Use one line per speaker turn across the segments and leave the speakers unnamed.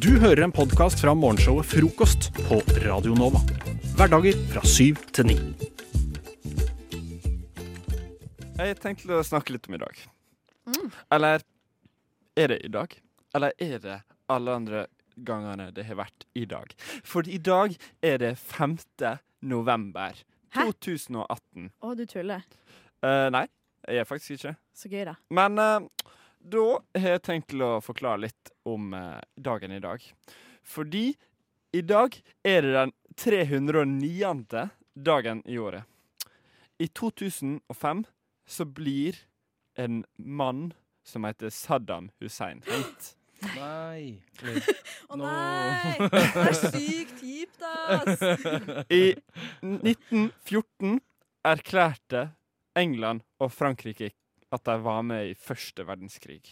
Du hører en podkast fra morgenshowet Frokost på Radio Nova. Hverdager fra syv til ni.
Jeg tenkte å snakke litt om i dag. Eller er det i dag? Eller er det alle andre gangene det har vært i dag? For i dag er det 5. november 2018.
Å, du tuller.
Eh, nei, jeg er faktisk ikke.
Så gøy, da.
Men eh, da har jeg tenkt til å forklare litt om eh, dagen i dag. Fordi i dag er det den 309. dagen i året. I 2005 så blir en mann som heter Saddam Hussein hengt.
Nei.
Å nei! Det er sykt kjipt, ass!
I 1914 erklærte England og Frankrike at de var med i første verdenskrig.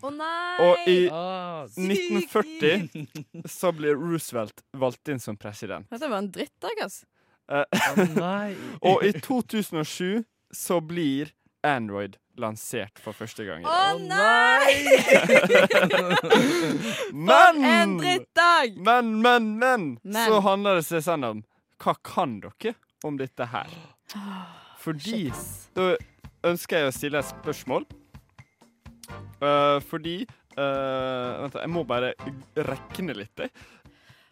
Å nei!
Og i
Ah, s-
1940 så blir Roosevelt valgt inn som president. Eh,
Dette var en drittdag, ass.
ah, nei.
Og i 2007 så blir Android lansert for første gang. i
Å
dag.
nei! For en
Men,
drittdag!
men, men, men,
Men.
så handler det seg sånn om hva kan dere om dette her? Fordi
Shit, ass.
da ønsker jeg å stille et spørsmål. Eh, fordi eh, Vent, jeg må bare rekne litt. jeg.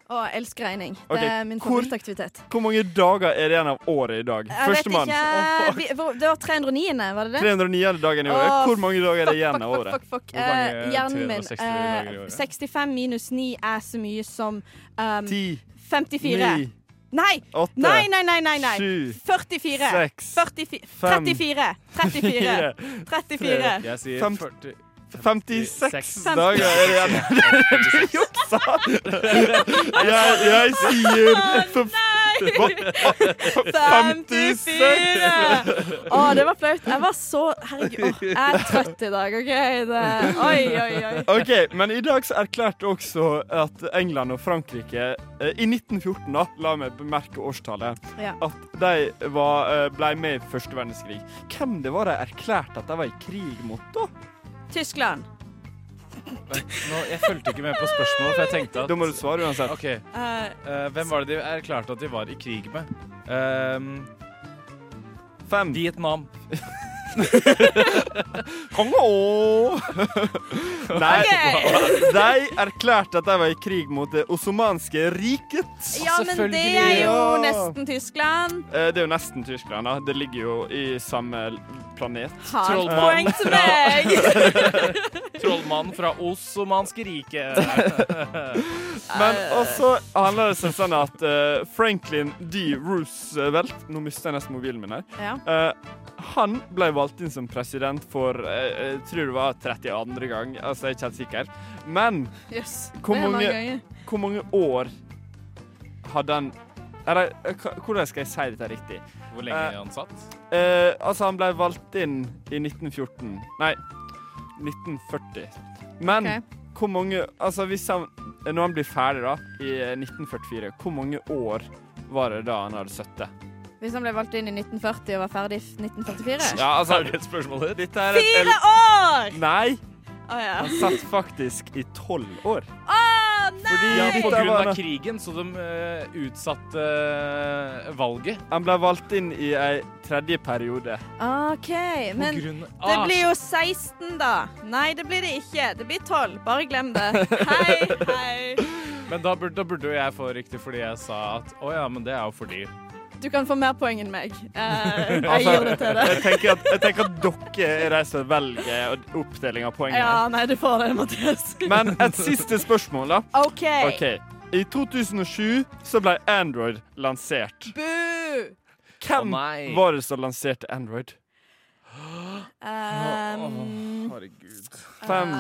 Å, jeg elsker regning.
Ok,
Det er min
hvor-
favorittaktivitet.
Hvor mange dager er det igjen av året i dag?
Jeg vet
Førstemann.
ikke vi, hvor- Det var 309., var det det?
309. dagen i året.
Åh,
Hvor mange dager er det igjen av
fuck,
året?
fuck, fuck, fuck.
Hvor mange
Eh, hjernen min
360 dager i
eh,
året?
65 minus 9 er så mye som um,
10,
54.
9,
Nei!
8,
Nei, nei, nei, nei, nei.
Sju.
44.
6,
44.
Fem.
34. 34. 34.
Jeg sier
Fem-
40.
56
Seks.
dager er det igjen. Du juksa! Jeg, jeg sier for, hva?
54!
56.
Å, det var flaut. Jeg var så Herregud, åh, jeg er trøtt i dag, OK? Det, oi, oi, oi.
OK, men i dag så erklærte også at England og Frankrike eh, i 1914, da, la meg bemerke årstallet,
Ja.
at de var, eh, ble med i første verdenskrig. Hvem det var de erklærte at de var i krig mot, da?
Tyskland.
Nå, jeg fulgte ikke med på spørsmålet, for jeg tenkte at
Da må du svare uansett.
OK.
Eh,
eh, hvem var det de erklærte at de var i krig med? Ehm,
Fem.
Vietnam.
Kongo! Nei,
Ok.
de erklærte at de var i krig mot det osmanske riket.
ja, men det er
selvfølgelig,
jo
ja.
nesten Tyskland.
Eh, Det er jo nesten Tyskland, da. Det ligger jo i samme planet.
Hardt
Trollmann.
poeng til meg.
Trollmannen fra Ossomanske riket.
Men også handler det seg sånn at eh, Franklin D. Roosevelt Nå mister jeg nesten mobilen min her.
Ja.
Eh, han ble valgt inn som president for eh, jeg tror det var 32. gang. Altså, jeg er ikke helt sikker. Men
Jøss.
Hvor
Det er mange
mange-
ganger.
hvor mange år hadde han Eller eh, hva- hvordan skal jeg si dette riktig?
Hvor lenge er han satt?
Eh, altså, han ble valgt inn i 1914 Nei, 1940. Men
Ok.
hvor mange Altså, hvis han Når han blir ferdig, da, i 1944, hvor mange år var det da han hadde sittet?
Hvis han ble valgt inn i 1940 og var ferdig i 1944?
Ja, altså
det et spørsmål ditt?
Dette er et
Fire år!
Nei,
Å ja.
han satt faktisk i tolv år.
Å nei!
Fordi
Ja, på
dette
grunn
var,
av krigen, så de eh, utsatte eh, valget.
han ble valgt inn i ei tredje periode.
OK, men
på grunn av
det blir jo 16, da. Nei, det blir det ikke. Det blir 12. Bare glem det. Hei, hei.
Men da burde, da burde jo jeg få riktig fordi jeg sa at å ja, men det er jo fordi
Du kan få mer poeng enn meg. Eh, jeg
Altså,
gir det til deg.
Jeg tenker at, jeg tenker at dere er de som velger oppdeling av poengene.
Ja, nei, du får det, Mathias.
Men et siste spørsmål, da.
OK.
OK. I 2007 så ble Android lansert.
Boo!
Hvem
Å, nei.
var det som lanserte Android?
Um,
Herregud.
Fem.
um,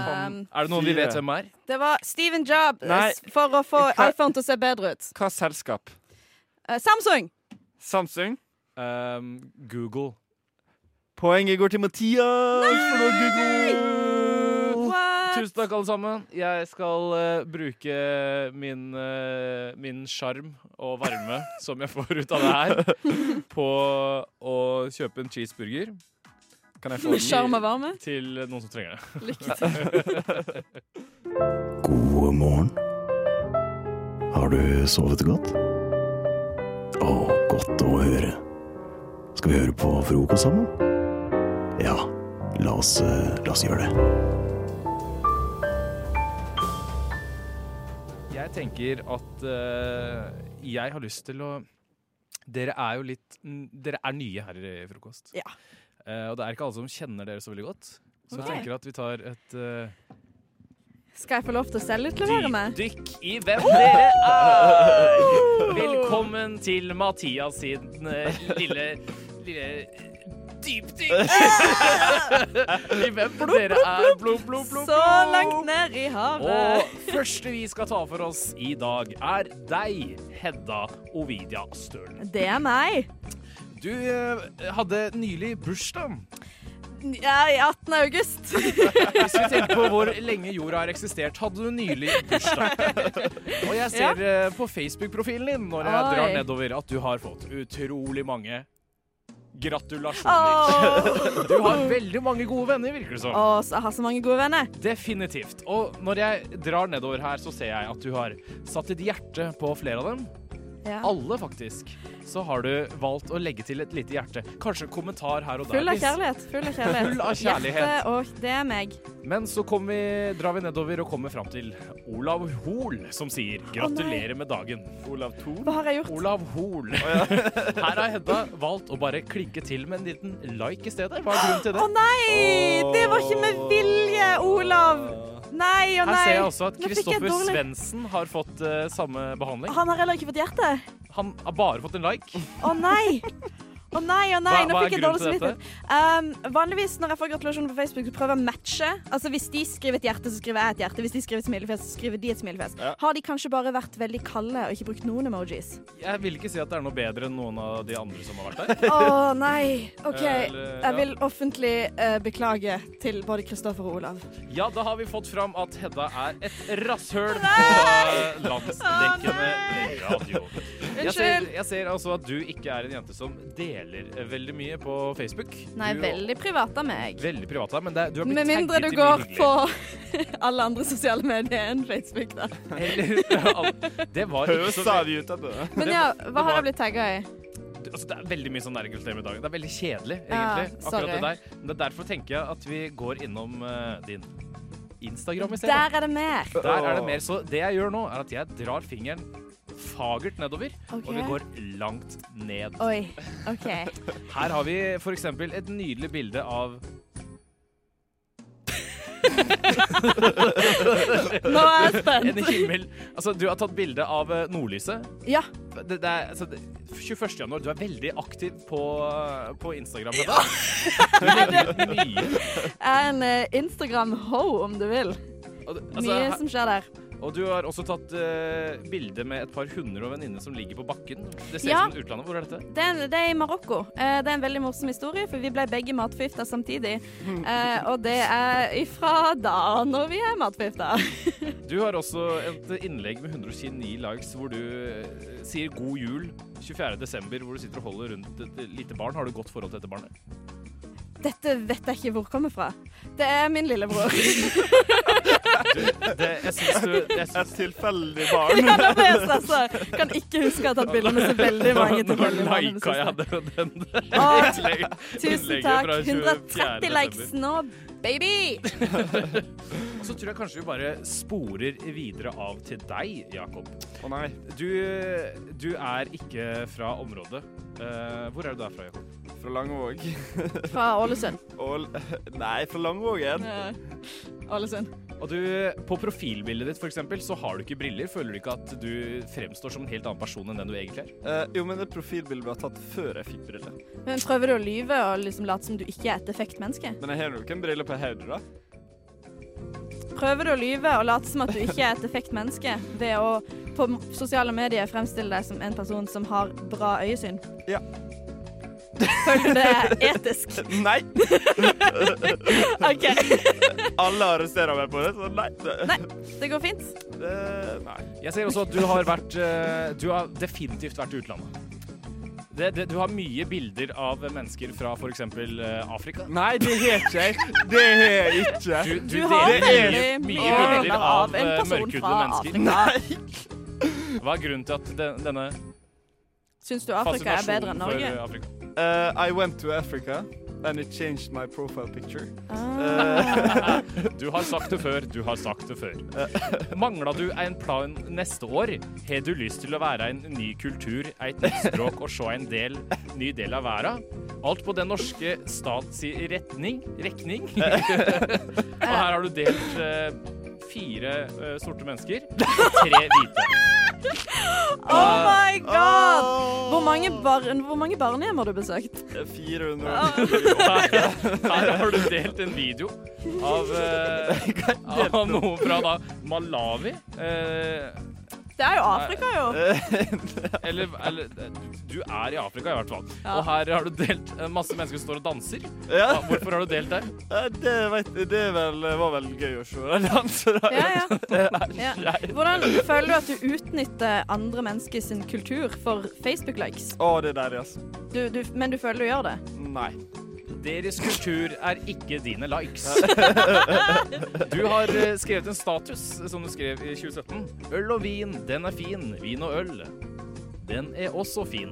Er det noen vi
Fire.
vet hvem er?
det var Steven Jobs
Nei.
for å få
Hva-
iPhone til å se bedre ut.
Hva selskap?
Eh, Samsung!
Samsung?
Ehm, Google.
Poenget går til Mathias for å google.
What?
Tusen takk, alle sammen. Jeg skal eh, bruke min, eh, min sjarm og varme som jeg får ut av det her, på å kjøpe en cheeseburger. Kan jeg få
Sjarm og
den i-
varme.
til noen som trenger det?
Lykke til.
God morgen. Har du sovet godt? Å, godt å høre. Skal vi høre på frokost sammen? Ja, la oss, eh, la oss gjøre det.
Jeg tenker at eh, jeg har lyst til å Dere er jo litt mm, Dere er nye her i Frokost.
Ja.
Eh, og det er ikke alle som kjenner dere så veldig godt. Så jeg
Ok.
tenker at vi tar et eh,
Skal jeg få lov til å selvutlevere meg?
dypdykk i hvem dere er. Velkommen til Mathias sin eh, lille, lille eh, dypdykk i hvem dere er. Blub, blub, blub,
Så langt ned i havet.
Og første vi skal ta for oss i dag, er deg, Hedda Ovidia Stølen.
Det er meg.
Du eh, hadde nylig bursdag.
Jeg er i 18. august.
Hvis vi tenker på hvor lenge jorda har eksistert, hadde du nylig bursdag. Og jeg ser eh, på Facebook-profilen din når jeg
Oi.
drar nedover, at du har fått utrolig mange gratulasjoner.
Åh.
Du har veldig mange gode venner, virker det som.
Åh, så jeg har så mange gode venner.
Definitivt. Og når jeg drar nedover her, så ser jeg at du har satt et hjerte på flere av dem.
Ja.
Alle, faktisk. Så har du valgt å legge til et lite hjerte. Kanskje en kommentar her og der.
Full av
Hvis-
kjærlighet. Full av kjærlighet.
Full av kjærlighet.
Hjerte, og det er meg.
Men så kommer vi, drar vi nedover og kommer fram til Olav Hoel, som sier gratulerer med dagen.
Olav Thon.
Hva har jeg gjort?
Olav Hoel. Her har Hedda valgt å bare klinke til med en liten like i stedet. Hva er grunnen til
Å
det?
nei! Det var ikke med vilje, Olav. Nei
Her
og nei.
ser jeg også at
Nå fikk jeg
Kristoffer
dårlig-
Svendsen har fått eh, samme behandling.
Han har heller ikke fått hjerte.
Han har bare fått en like.
Å nei! Å nei, å nei,
Hva-
nå
hva er
fikk jeg
grunnen
dårlig
til dette?
samvittighet. Um, vanligvis når jeg får gratulasjoner på Facebook, så prøver jeg å matche. Altså Hvis de skriver et hjerte, så skriver jeg et hjerte. Hvis de skriver et smilefjes, så skriver de et smilefjes.
Ja.
Har de kanskje bare vært veldig kalde og ikke brukt noen emojis?
Jeg vil ikke si at det er noe bedre enn noen av de andre som har vært der.
Å nei. OK.
Eller, ja.
Jeg vil offentlig eh, beklage til både Kristoffer og Olav.
Ja, da har vi fått fram at Hedda er et rasshøl på landsdekkende radio. Jeg ser,
Unnskyld.
jeg ser altså at du ikke er en jente som deler eh, veldig mye på Facebook.
Nei,
du,
veldig privat av meg.
Veldig privat her, men det, er- du har blitt
Med mindre du
tagget i mye
går
hyggelig.
på alle andre sosiale medier enn Facebook, da.
Eller, Det var ikke så
Høsa de ut av det?
Men ja, hva har jeg blitt tagga i?
altså, Det er veldig mye sånn der gratulerer med dagen. Det er veldig kjedelig,
Ja,
egentlig.
sorry.
akkurat det der. Men det er derfor tenker jeg at vi går innom eh, din Instagram i stedet.
Der er det mer.
Der er det mer. Så det jeg gjør nå, er at jeg drar fingeren fagert nedover, og vi
Ok.
går langt ned.
Oi. OK.
Her har vi for eksempel et nydelig bilde av
Nå er jeg spent.
en himmel. Altså, du har tatt bilde av eh, nordlyset.
Ja.
Det, det er, altså, det, 21. januar, du er veldig aktiv på, eh, på Instagram. Du legger ut mye.
Jeg er en eh, Instagram-ho, om du vil.
Og, det- altså,
Mye
her-
som skjer der.
og du har også tatt eh, bilde med et par hunder og venninne som ligger på bakken. Det ser ut
Ja.
som utlandet. Hvor er dette?
Det er, det er i Marokko. Eh, Det er en veldig morsom historie, for vi ble begge matforgifta samtidig. Eh, Og det er ifra da når vi er matforgifta.
Du har også et innlegg med 129 likes hvor du eh, sier 'god jul' 24. desember, hvor du sitter og holder rundt et lite barn. Har du godt forhold til dette barnet?
Dette vet jeg ikke hvor kommer fra. Det er min lillebror.
Det, jeg syns du jeg syns-
Et tilfeldig barn.
Ja, da ble jeg stressa. Kan ikke huske å ha tatt bilder med så veldig mange
Nå
tilfeldige barn i det
lika jeg
siste.
den, den, den
Å,
innlegg-
Tusen
innlegget
takk.
fra 24.
130 likes
desember.
nå, baby!
Og så tror jeg kanskje vi bare sporer videre av til deg, Jakob.
Å nei.
Du, du er ikke fra området. Eh, hvor er det du er fra, Jakob?
Fra Langvåg.
Fra Ålesund.
Og, nei, fra Langvågen.
Eh, Ålesund.
Og du, på profilbildet ditt for eksempel, så har du ikke briller. Føler du ikke at du fremstår som en helt annen person enn den du egentlig er?
Eh, jo, men det profilbildet ble tatt før jeg fikk briller.
Men prøver du å lyve og liksom late som du ikke er et defekt menneske?
Men jeg har jo ikke en brille på hodet, da.
Prøver du å lyve og late som at du ikke er et defekt menneske ved å på m- sosiale medier fremstille deg som en person som har bra øyesyn?
Ja.
Føler du det er etisk?
Nei!
OK.
Alle arresterer meg på det, så nei. Det,
Nei, det går fint.
det- nei.
eh, Jeg ser også at du har vært eh, Du har definitivt vært i utlandet. Det, det, du har mye bilder av mennesker fra f.eks. Afrika.
Nei, det har ikke jeg. Det har jeg ikke.
Du,
Du har
deler
veldig
mye
mye
bilder
bilder
av
av en
eh,
person
mørkhudede
fra
mennesker.
Nei.
Hva er grunnen til at den, denne
Syns du Afrika er bedre enn
fascinasjonen
Norge?
for eh, Afrika
Uh, I went to Africa. And it changed my profile picture. Uh,
Ah.
Eh, Du har sagt det før, du har sagt det før. Mangla du en plan neste år? Har du lyst til å være en ny kultur, eit nytt språk og se en del, ny del av verden? Alt på den norske stats i retning, rekning. og her har du delt eh, fire eh, sorte mennesker og tre hvite.
Oh my god! Hvor mange, bar hvor mange barnehjem har du besøkt?
Eh,
400
Her, her har du delt en video av, eh, av noe fra da Malawi. Eh,
Det er jo Afrika, jo.
Eller, eller du er i Afrika i hvert fall.
Ja.
Og her har du delt eh, masse mennesker som står og danser.
Ja,
Ja, Hvorfor har du delt der?
eh, det, vet, det er vel, var vel gøy å se den dansen der.
Ja, ja. ja. Hvordan føler du at du utnytter andre mennesker sin kultur for Facebook-likes?
Å, det er deilig, altså.
Du, du, men du føler du gjør det?
Nei.
Deres kultur er ikke dine likes. Du har eh, skrevet en status eh, som du skrev i 2017. Øl og vin, den er fin. Vin og øl. Den er også fin.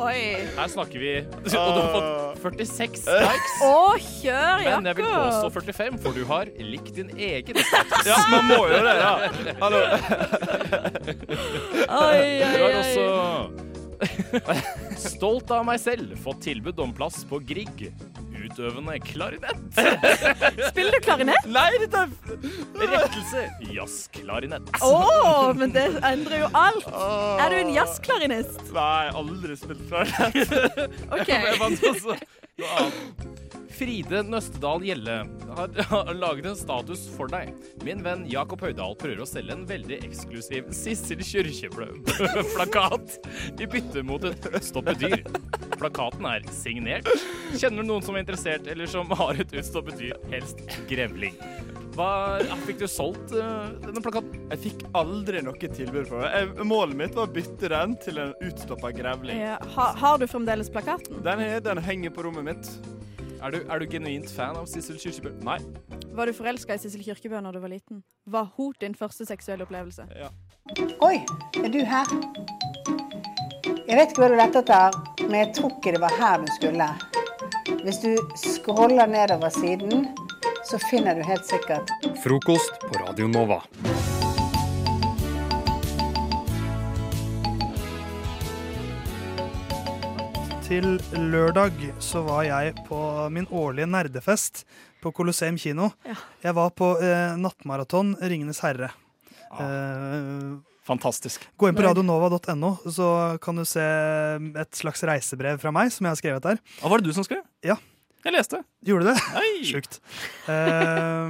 Oi.
Her snakker vi Og du har fått 46 likes.
Å, kjør,
Men jeg vil påstå
Jakob!
45, for du har likt din egen status.
Ja, man må jo det, ja. Hallo.
Oi,
Du
oi,
har
oi.
også Stolt av meg selv fått tilbud om plass på Grieg. Utøvende klarinett.
Spiller du klarinett?
Nei, dette er
Rettelse. Jazzklarinett.
Å, men det endrer jo alt. Er du en jazzklarinist?
Nei, aldri spilt før.
OK.
Jeg fant også noe annet. Fride Nøstedal Gjelle har, har laget en status for deg. Min venn Jakob Høydahl prøver å selge en veldig eksklusiv Sissel Kyrkjebø-plakat i bytte mot et utstoppet dyr. Plakaten er signert. Kjenner du noen som er interessert, eller som har et utstoppet dyr, helst grevling? Hva, fikk du solgt eh, denne plakaten?
Jeg fikk aldri noe tilbud for det. Jeg, målet mitt var å bytte den til en utstoppa grevling.
Ja,
Eh,
ha, har du fremdeles plakaten?
Den, her, den henger på rommet mitt.
Er du, er du genuint fan av Sissel Kyrkjebø? Nei.
Var du forelska i Sissel Kyrkjebø når du var liten? Var hun din første seksuelle opplevelse?
Oi, er du her? Jeg vet ikke hva du lette etter, men jeg tror ikke det var her du skulle. Hvis du scroller nedover siden, så finner du helt sikkert
Frokost på Radio Nova.
Til lørdag så var jeg på min årlige nerdefest på Colosseum kino.
Ja.
Jeg var på eh, nattmaraton Ringenes herre. Eh,
Ah. Fantastisk.
gå inn på radionova.no, så kan du se et slags reisebrev fra meg som jeg har skrevet der.
Og var det du som skrev?
Ja.
Jeg leste.
Gjorde du det? Sjukt. Eh,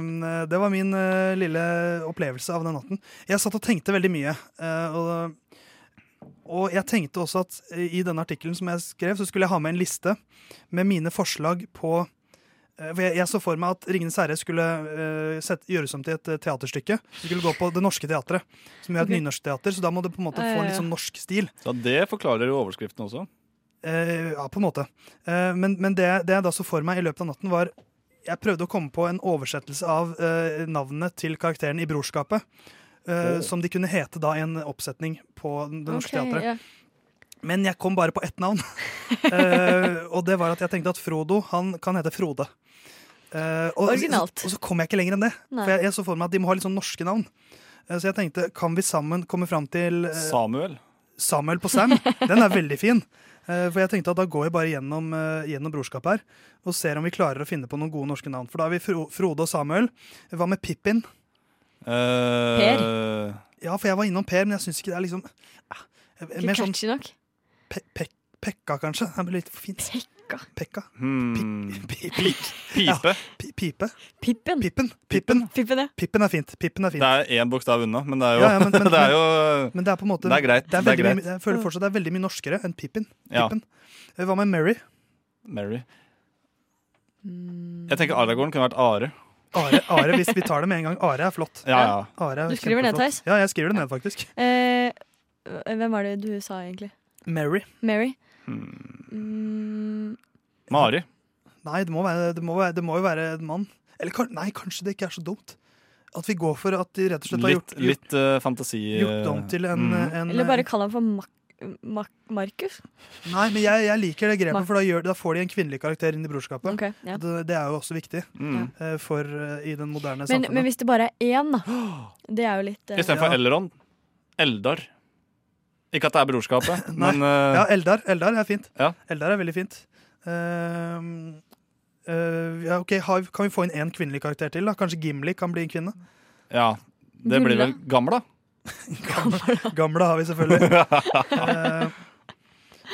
det var min eh, lille opplevelse av den natten. Jeg satt og tenkte veldig mye. eh, og, og jeg tenkte også at eh, i denne artikkelen som jeg skrev, så skulle jeg ha med en liste med mine forslag på eh, for jeg, jeg så for meg at 'Ringenes herre' skulle eh, sett- gjøres om til et eh, teaterstykke. Det skulle gå på Det Norske Teatret, som er et
Ok.
nynorsk teater. Så da må det på en måte
Ja, ja,
få en
ja.
litt sånn norsk stil.
Ja, Det forklarer jo overskriften også.
Eh, ja, på en måte. Eh, men men det, det jeg da så for meg i løpet av natten, var Jeg prøvde å komme på en oversettelse av eh, navnet til karakteren i Brorskapet. eh, Som de kunne hete da i en oppsetning på Det Norske Teatret. Men jeg kom bare på ett navn. Eh, og det var at jeg tenkte at Frodo han kan hete Frode. Eh, og,
Originalt.
Og så kom jeg ikke lenger enn det.
Nei.
For jeg, jeg så for meg at de må ha litt sånn norske navn. Eh, så jeg tenkte kan vi sammen komme fram til eh,
Samuel.
Samuel på Sam, den er veldig fin. Eh, For jeg tenkte at da går vi bare gjennom, eh, gjennom brorskapet her og ser om vi klarer å finne på noen gode norske navn. For da har vi Fro Frode og Samuel. Hva med Pippin?
Eh, per.
Ja, for jeg var innom Per, men jeg syns ikke det er liksom eh, Mer sånn
nok.
pe pe Pekka, kanskje? Det blir litt for fint.
Pekka.
Pekka?
Hmm.
Pi
Pipe.
pi- pipe?
Pippen.
Pippen? Pippen?
Pippen, ja.
Pippen er fint. Pippen er
Det
fint.
er én bokstav unna, men det er jo,
Ja, ja, men- men-
det er jo
Men det er på en måte
Det er greit.
det er
Det er
veldig mye- jeg føler fortsatt det er veldig mye norskere enn Pippin.
Ja.
Pippen. Eh, Hva med Mary?
Mary. Jeg tenker Aragorn kunne vært Are.
Are, Are, hvis vi tar det med en gang. Are er flott.
Ja, ja.
Are er
Du skriver ned, Theis?
kjempeflott. Ja, jeg skriver det ned, faktisk.
Eh, hvem var det du sa, egentlig?
Mary.
Mary?
Hmm.
Mm,
Mari.
Nei, det må, være, det, må være, det må jo være en mann. Eller kan- nei, kanskje det ikke er så dumt. At vi går for at de rett og slett har
Litt,
gjort, gjort,
litt eh, fantasi...
gjort det om til en,
eh,
Mm.
en
eller bare kall ham for Mac- Mac- Markus.
Nei, men jeg, jeg liker det
Nei.
grepet, for da, gjør, da får de en kvinnelig karakter inn i brorskapet.
Ok, ja.
Det, det er jo også viktig
Mm.
eh, for, eh, i den moderne
men, men
samfunnet.
hvis det bare er én, da. Det er jo litt eh,
Istedenfor
Ja.
Elron. Eldar. Ikke at det er brorskapet,
Nei.
men eh,
Ja, Eldar, Eldar er fint.
Ja.
Eldar er veldig fint. Ehm, eh, ja, ok, har, Kan vi få inn én kvinnelig karakter til? da? Kanskje Gimli kan bli en kvinne?
ja. Det blir vel gamla.
Gamle har vi selvfølgelig. Eh,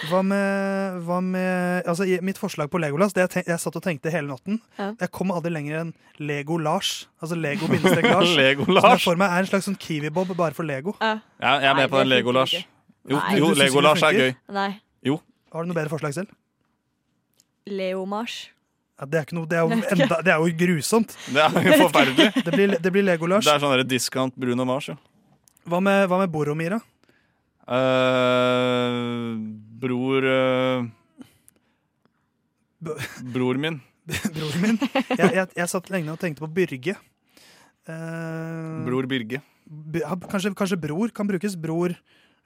hva med, hva med altså, i- Mitt forslag på Legolas det jeg, tenk, jeg satt og tenkte hele natten.
Ja.
Jeg kom aldri lenger enn Lego-Lars. Altså Lego-Lars. Som jeg
Lego-Lars.
for meg er en slags sånn Kiwi-Bob, bare for Lego.
Ja.
Ja, jeg er
Nei,
med på
det
den
funker
Lego-Lars.
ikke.
Jo, jo
Nei.
Du synes ikke
Lego-Lars
det
er gøy.
Nei.
Har du noe bedre forslag selv?
Leomars.
Ja, det, er ikke noe, det, er jo
Jeg vet
enda, det er jo grusomt.
Det er jo forferdelig.
Det blir, det blir Lego-Lars.
Det er sånn der discount Bruno Mars, jo.
Hva med, hva med Boromir, da?
Eh, bror eh, Bror min.
Broren min. Jeg, jeg, jeg satt lenge og tenkte på Byrge. Eh,
Bror Birge.
b- ja, kanskje, kanskje bror kan brukes. Bror,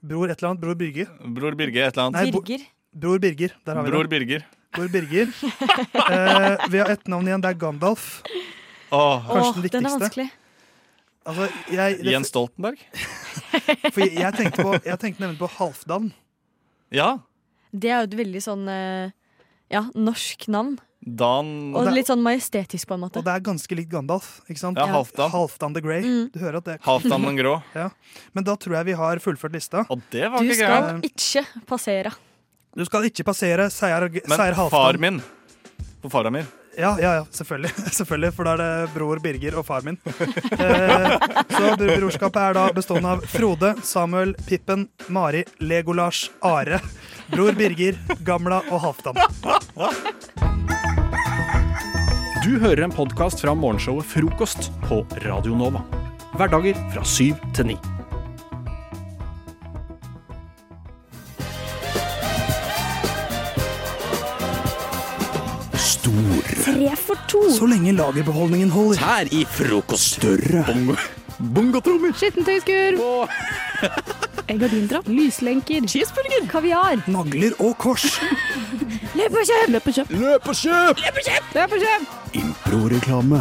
bror et eller annet. Bror Byrge.
Bror Birge et eller annet.
Nei, bo-
Birger.
Bror Birger. Der har vi
Bror
det.
Birger.
Bror Birger. Eh, vi har ett navn igjen. Det er Gandalf.
Åh,
Kanskje
Åh,
den
den er
viktigste.
vanskelig.
Altså, jeg, det,
Jens Stoltenberg?
for jeg, jeg, tenkte på, jeg tenkte nemlig på Halfdan.
Ja.
Det er jo et veldig sånn eh, ja, norsk navn.
Dan
Og
det er-
litt sånn majestetisk, på en måte.
Og det er ganske likt Gandalf. ikke sant?
Ja, Halfdan.
Halfdan the Grey.
Mm.
Du hører at det.
Halvdan den grå.
Men da tror jeg vi har fullført lista. Eh,
Og det var
Du
ikke
skal
gærent.
ikke passere.
Du skal ikke passere seier, seier
Men
Halfdan.
far min. På fara mi.
Ja, ja, ja selvfølgelig. selvfølgelig. For da er det bror Birger og far min. Eh, så br- brorskapet er da bestående av Frode, Samuel, Pippen, Mari, Legolas, Are, bror Birger, Gamla og Halvdan.
Du hører en podkast fra morgenshowet Frokost på Radio Nova. Hverdager fra syv til ni.
Stor.
Tre for to.
Så lenge lagerbeholdningen holder.
Her i frokost. Større.
Bongotrommer!
Skittentøyskurv. Gardindrapp. Lyslenker. Cheeseburger. Kaviar.
Nagler og kors.
Løp og kjøp! Løp og kjøp!
Løp og kjøp!
Løp og kjøp!
Improreklame.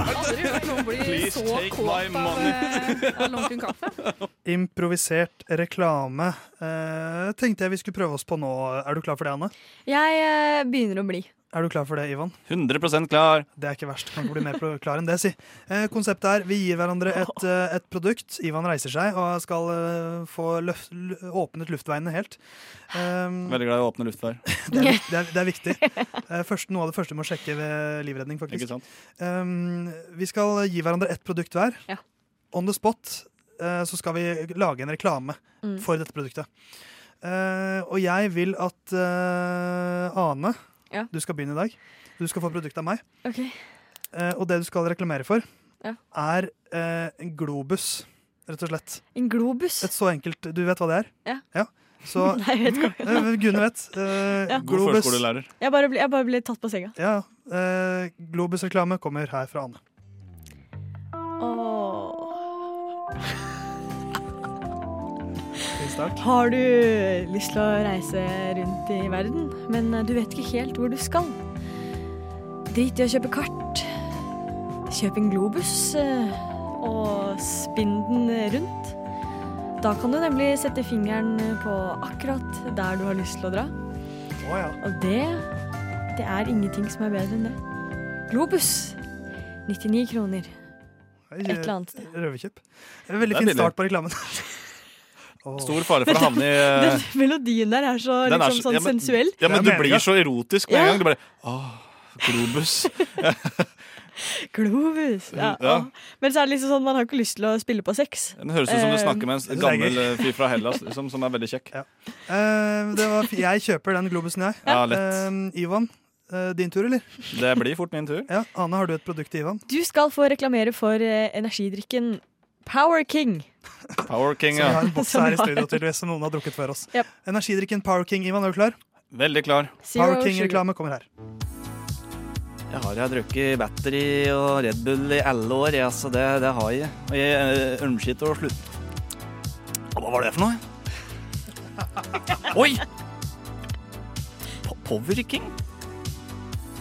Noen blir så
take my money.
av lunken kaffe.
Improvisert reklame. Eh, tenkte jeg vi skulle prøve oss på nå. Er du klar for det, Anne?
Jeg eh, begynner å bli.
Er du klar for det, Ivan?
100 klar.
Det er ikke verst. Kan ikke bli mer pro- klar enn det, si. Eh, konseptet er vi gir hverandre et, eh, et produkt. Ivan reiser seg og skal eh, få løft, l- åpnet luftveiene helt. Um, det,
Veldig glad i å åpne luftvær.
er, vik- det, er, det er viktig. Eh, først, noe av det første du må sjekke ved livredning,
Ikke
faktisk.
sant?
Um, vi skal gi hverandre ett produkt hver.
Ja.
On the spot eh, så skal vi lage en reklame
Mm.
for dette produktet. Eh, og jeg vil at eh, Ane,
Ja.
du skal begynne i dag. Du skal få produktet av meg.
Ok.
Eh, og det du skal reklamere for,
Ja.
er eh, en globus, rett og slett.
En globus.
Et så enkelt Du vet hva det er?
Ja.
Så
Nei, jeg vet ikke.
eh, Gunne vet. Eh,
Ja.
God
Globus.
førskolelærer.
Jeg bare blir, jeg bare blir tatt på senga.
Ja, eh, Globus-reklame kommer her fra Anne.
Åh.
Fin start.
Har du lyst til å reise rundt i verden, men eh, du vet ikke helt hvor du skal? Drit i å kjøpe kart. Kjøp en globus eh, og spinn den rundt. Da kan du nemlig sette fingeren på akkurat der du har lyst til å dra.
Å ja.
Og det det er ingenting som er bedre enn det. Globus. 99 kroner
Et
et eller annet sted.
Røverkjøp. Eh, Veldig
Det er
fin
billig.
start på reklamen. Åh.
Stor fare for å havne i eh,
Den melodien der er så,
den er
liksom,
så-
sånn
ja, men-
sensuell.
Ja, men
Det
du
er mega.
blir så erotisk med en
Ja.
gang. Du bare Åh, Globus.
Globus. Ja,
Ja.
å. Men så er det liksom sånn, man har ikke lyst til å spille på sex.
Den høres ut som du
Eh,
snakker med
det
en
er
gammel eh, fyr fra Hellas liksom, som er veldig kjekk.
Eh, det var, fi- jeg kjøper den globusen, jeg.
Ja, lett.
Eh, Ivan, eh, din tur, eller?
Det blir fort min tur.
Ja, Ane, har du et produkt til Ivan?
Du skal få reklamere for eh, energidrikken Power King.
Power King,
Så vi
ja.
har en boks her i studio tydeligvis som noen har drukket før oss.
Yep.
Energidrikken Power King, Ivan, er du klar?
Veldig klar.
Zero
Power
sugar.
King-reklame kommer her.
Jeg har jeg drukket battery og Red Bull i alle år, ja, så det, det har jeg. Og jeg øh, ønsker ikke å slutte. Hva var det for noe? Oi! Po- Powerking?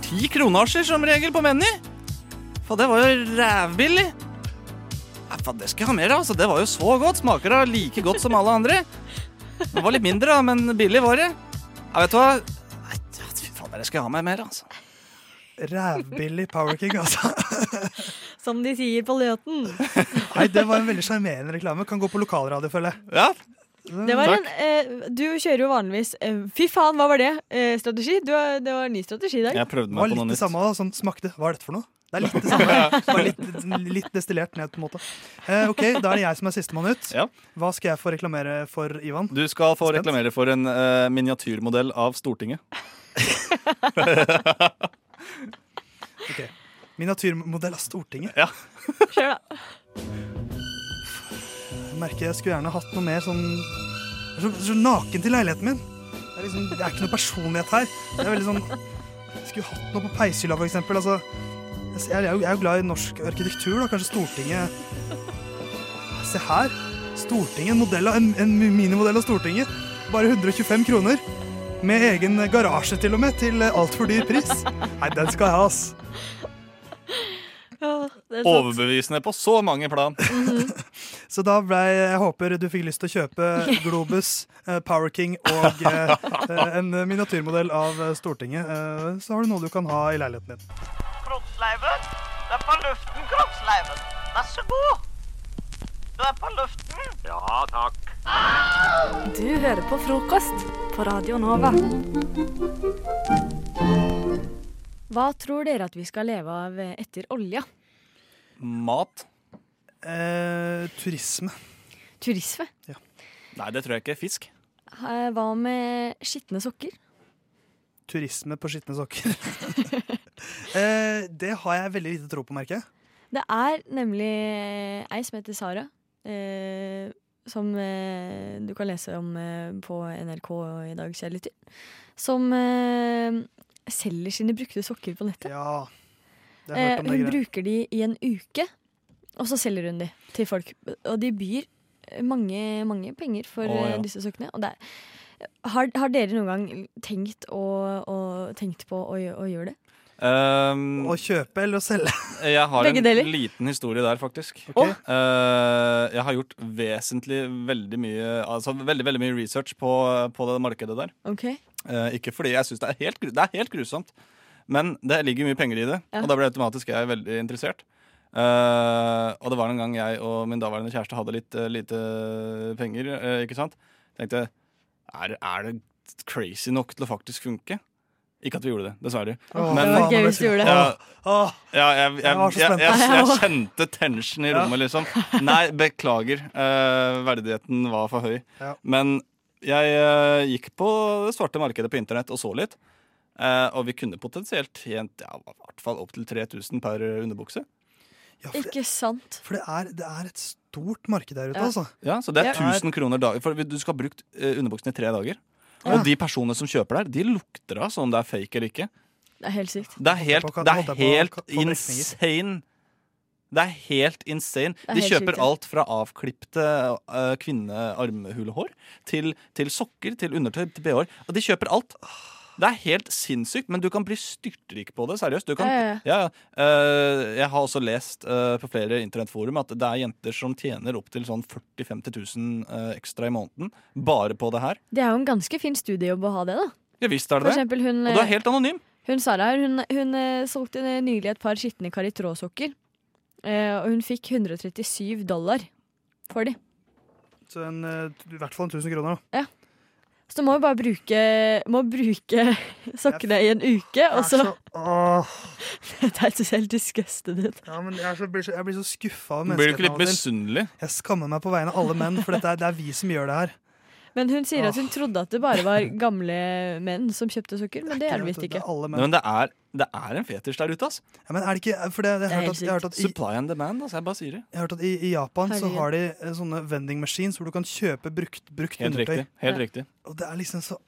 Ti kronasjer som regel på Menny. For det var jo rævbillig. Ja, faen, det skal jeg ha mer av, altså. Det var jo så godt. Smaker da like godt som alle andre. Det var litt mindre, da, men billig var det. Ja, vet du hva? Nei, Fy faen, det skal jeg ha meg mer, altså.
Rævbillig Power King, altså.
Som de sier på Løten.
Nei, det var en veldig sjarmerende reklame. Kan gå på lokalradio, føler jeg.
Ja,
Mm.
Det var en, eh, du kjører jo vanligvis eh, 'fy faen, hva var det?' Eh, strategi. Du, har- det var en ny strategi i dag.
Jeg prøvde
Det
meg
var
på noe
litt det
nytt.
samme, da, sånn smakte. Hva er dette for noe? Det er litt det samme, bare litt, sånn, litt destillert ned på en måte. Eh, ok, Da er det jeg som er sistemann ut.
Ja.
Hva skal jeg få reklamere for, Ivan?
Du skal få
Spent.
reklamere for en eh, miniatyrmodell av Stortinget.
Ok, Miniatyrmodell av Stortinget.
Kjør, da.
Jeg merker jeg skulle gjerne hatt noe mer sånn Jeg er så, så naken til leiligheten min. Det er, liksom, det er ikke noe personlighet her. Det er veldig sånn Jeg skulle hatt noe på peishylla, for eksempel. Altså, jeg, jeg, er jo, jeg er jo glad i norsk arkitektur, da. Kanskje Stortinget Se her. Stortinget, en, modell av, en, en minimodell av Stortinget. Bare 125 kroner. Med egen garasje, til og med, til altfor dyr pris. Nei, den skal jeg ha, ass.
Ja, det er sant.
Overbevisende på så mange plan.
Mhm. Så da ble Jeg håper du fikk lyst til å kjøpe Globus, eh, Power King og eh, eh, en miniatyrmodell av eh, Stortinget. Eh, så har du noe du kan ha i leiligheten din.
Kroppsleiven. Du er på luften, kroppsleiven. Vær så god. Du er på luften. Ja, takk.
Du hører på frokost på Radio Nova.
Hva tror dere at vi skal leve av eh, etter olja?
Mat?
Eh, turisme.
Turisme.
Nei, det tror jeg ikke. Fisk?
Eh, Hva med skitne sokker?
Turisme på skitne sokker. eh, det har jeg veldig lite tro på, merker jeg.
Det er nemlig ei som heter Sara, eh, som eh, du kan lese om eh, på NRK i dag, kjære lytter, som eh, selger sine brukte sokker på nettet.
Ja. Det har jeg
Eh,
hørt om det
hun
greiene.
bruker de i en uke, og så selger hun de til folk. Og de byr eh, mange, mange penger for
Å, ja.
eh, disse sokkene. Og det er, har, har dere noen gang tenkt, å, å, tenkt på å, gjø- å gjøre det?
Ehm,
Å kjøpe eller å selge.
jeg har
Begge
en
deler.
liten historie der, faktisk.
Ok.
Eh, jeg har gjort vesentlig veldig mye Altså veldig, veldig mye research på, på det markedet der.
Ok,
Eh, ikke fordi jeg syns det, er helt gru- det er helt grusomt, men det ligger mye penger i det.
Ja.
Og da ble automatisk jeg veldig interessert. Eh, og det var en gang jeg og min daværende kjæreste hadde litt eh, lite penger, eh, ikke sant. Tenkte er, er det crazy nok til å faktisk funke? Ikke at vi gjorde det, dessverre.
Åh,
Men-
Det
faen,
var gøy
ble
hvis du gjorde det.
Ja,
Åh,
ja, jeg, jeg,
Jeg var så
jeg,
spent.
jeg, jeg,
Ja, jeg
kjente tension i
Ja.
rommet, liksom. Nei, beklager. Eh, verdigheten var for høy.
Ja.
Men jeg eh, gikk på det svarte markedet på internett og så litt. Eh, og vi kunne potensielt tjent ja, i hvert fall opptil 3000 per underbukse.
ja, for,
Ikke sant?
for det er, det er et stort marked der ute,
Ja.
altså.
Ja, Så det er
Ja.
1000 kroner dagen. For du skal ha brukt eh, underbuksen i tre dager.
Ja.
Og de personene som kjøper der, de lukter av sånn om det er fake eller ikke.
Det er helt sykt.
Det er
Holdt jeg
helt,
på å-
det er
holdt jeg på å
helt
ka- få brekninger.
insane. Det er helt insane.
er
De
helt sykt,
kjøper
ja.
alt fra avklipte uh, kvinnearmhulehår til, til sokker, til undertøy, til bh-er. Og de kjøper alt. Det er helt sinnssykt, men du kan bli styrtrik på det. Seriøst. Du kan,
Ja,
ja, ja. Eh, jeg har også lest eh, på flere internettforum at det er jenter som tjener opptil sånn 40 000-50 000 eh, ekstra i måneden bare på det her.
Det er jo en ganske fin studiejobb å ha det, da.
Ja visst er
For
det det.
eksempel hun,
Og du er helt anonym.
hun Sara her, hun, hun eh, solgte eh, nylig et par skitne kar i trådsokker. Eh, og hun fikk 137 dollar for de.
Så en, eh, t- I hvert fall 1000 kroner. da.
Så du må jo bare bruke, må bruke sokkene i en uke, og
Det
så
er så- åh.
Det høres helt disgusted ut.
Ja, men jeg, er så, blir så, jeg blir så skuffa av
Blir du ikke litt
menneskeheten av og til.
misunnelig?
Jeg skammer meg på vegne av alle menn, for dette er, det er vi som gjør det her.
Men hun sier at hun trodde at det bare var gamle menn som kjøpte sukker, men det er det visst
Det
ikke.
er alle
Nei,
menn.
men det er, det er en fetisj der ute, altså.
Ja, men er det ikke For det, jeg,
er helt
har hørt at, jeg har hørt at i,
Supply and demand, altså. Jeg bare sier det.
jeg har hørt at i, i Japan så
Herregud.
har de eh, sånne vending machines hvor du kan kjøpe brukt, brukt
Helt
undertøy.
riktig. Helt riktig.
Og det er liksom så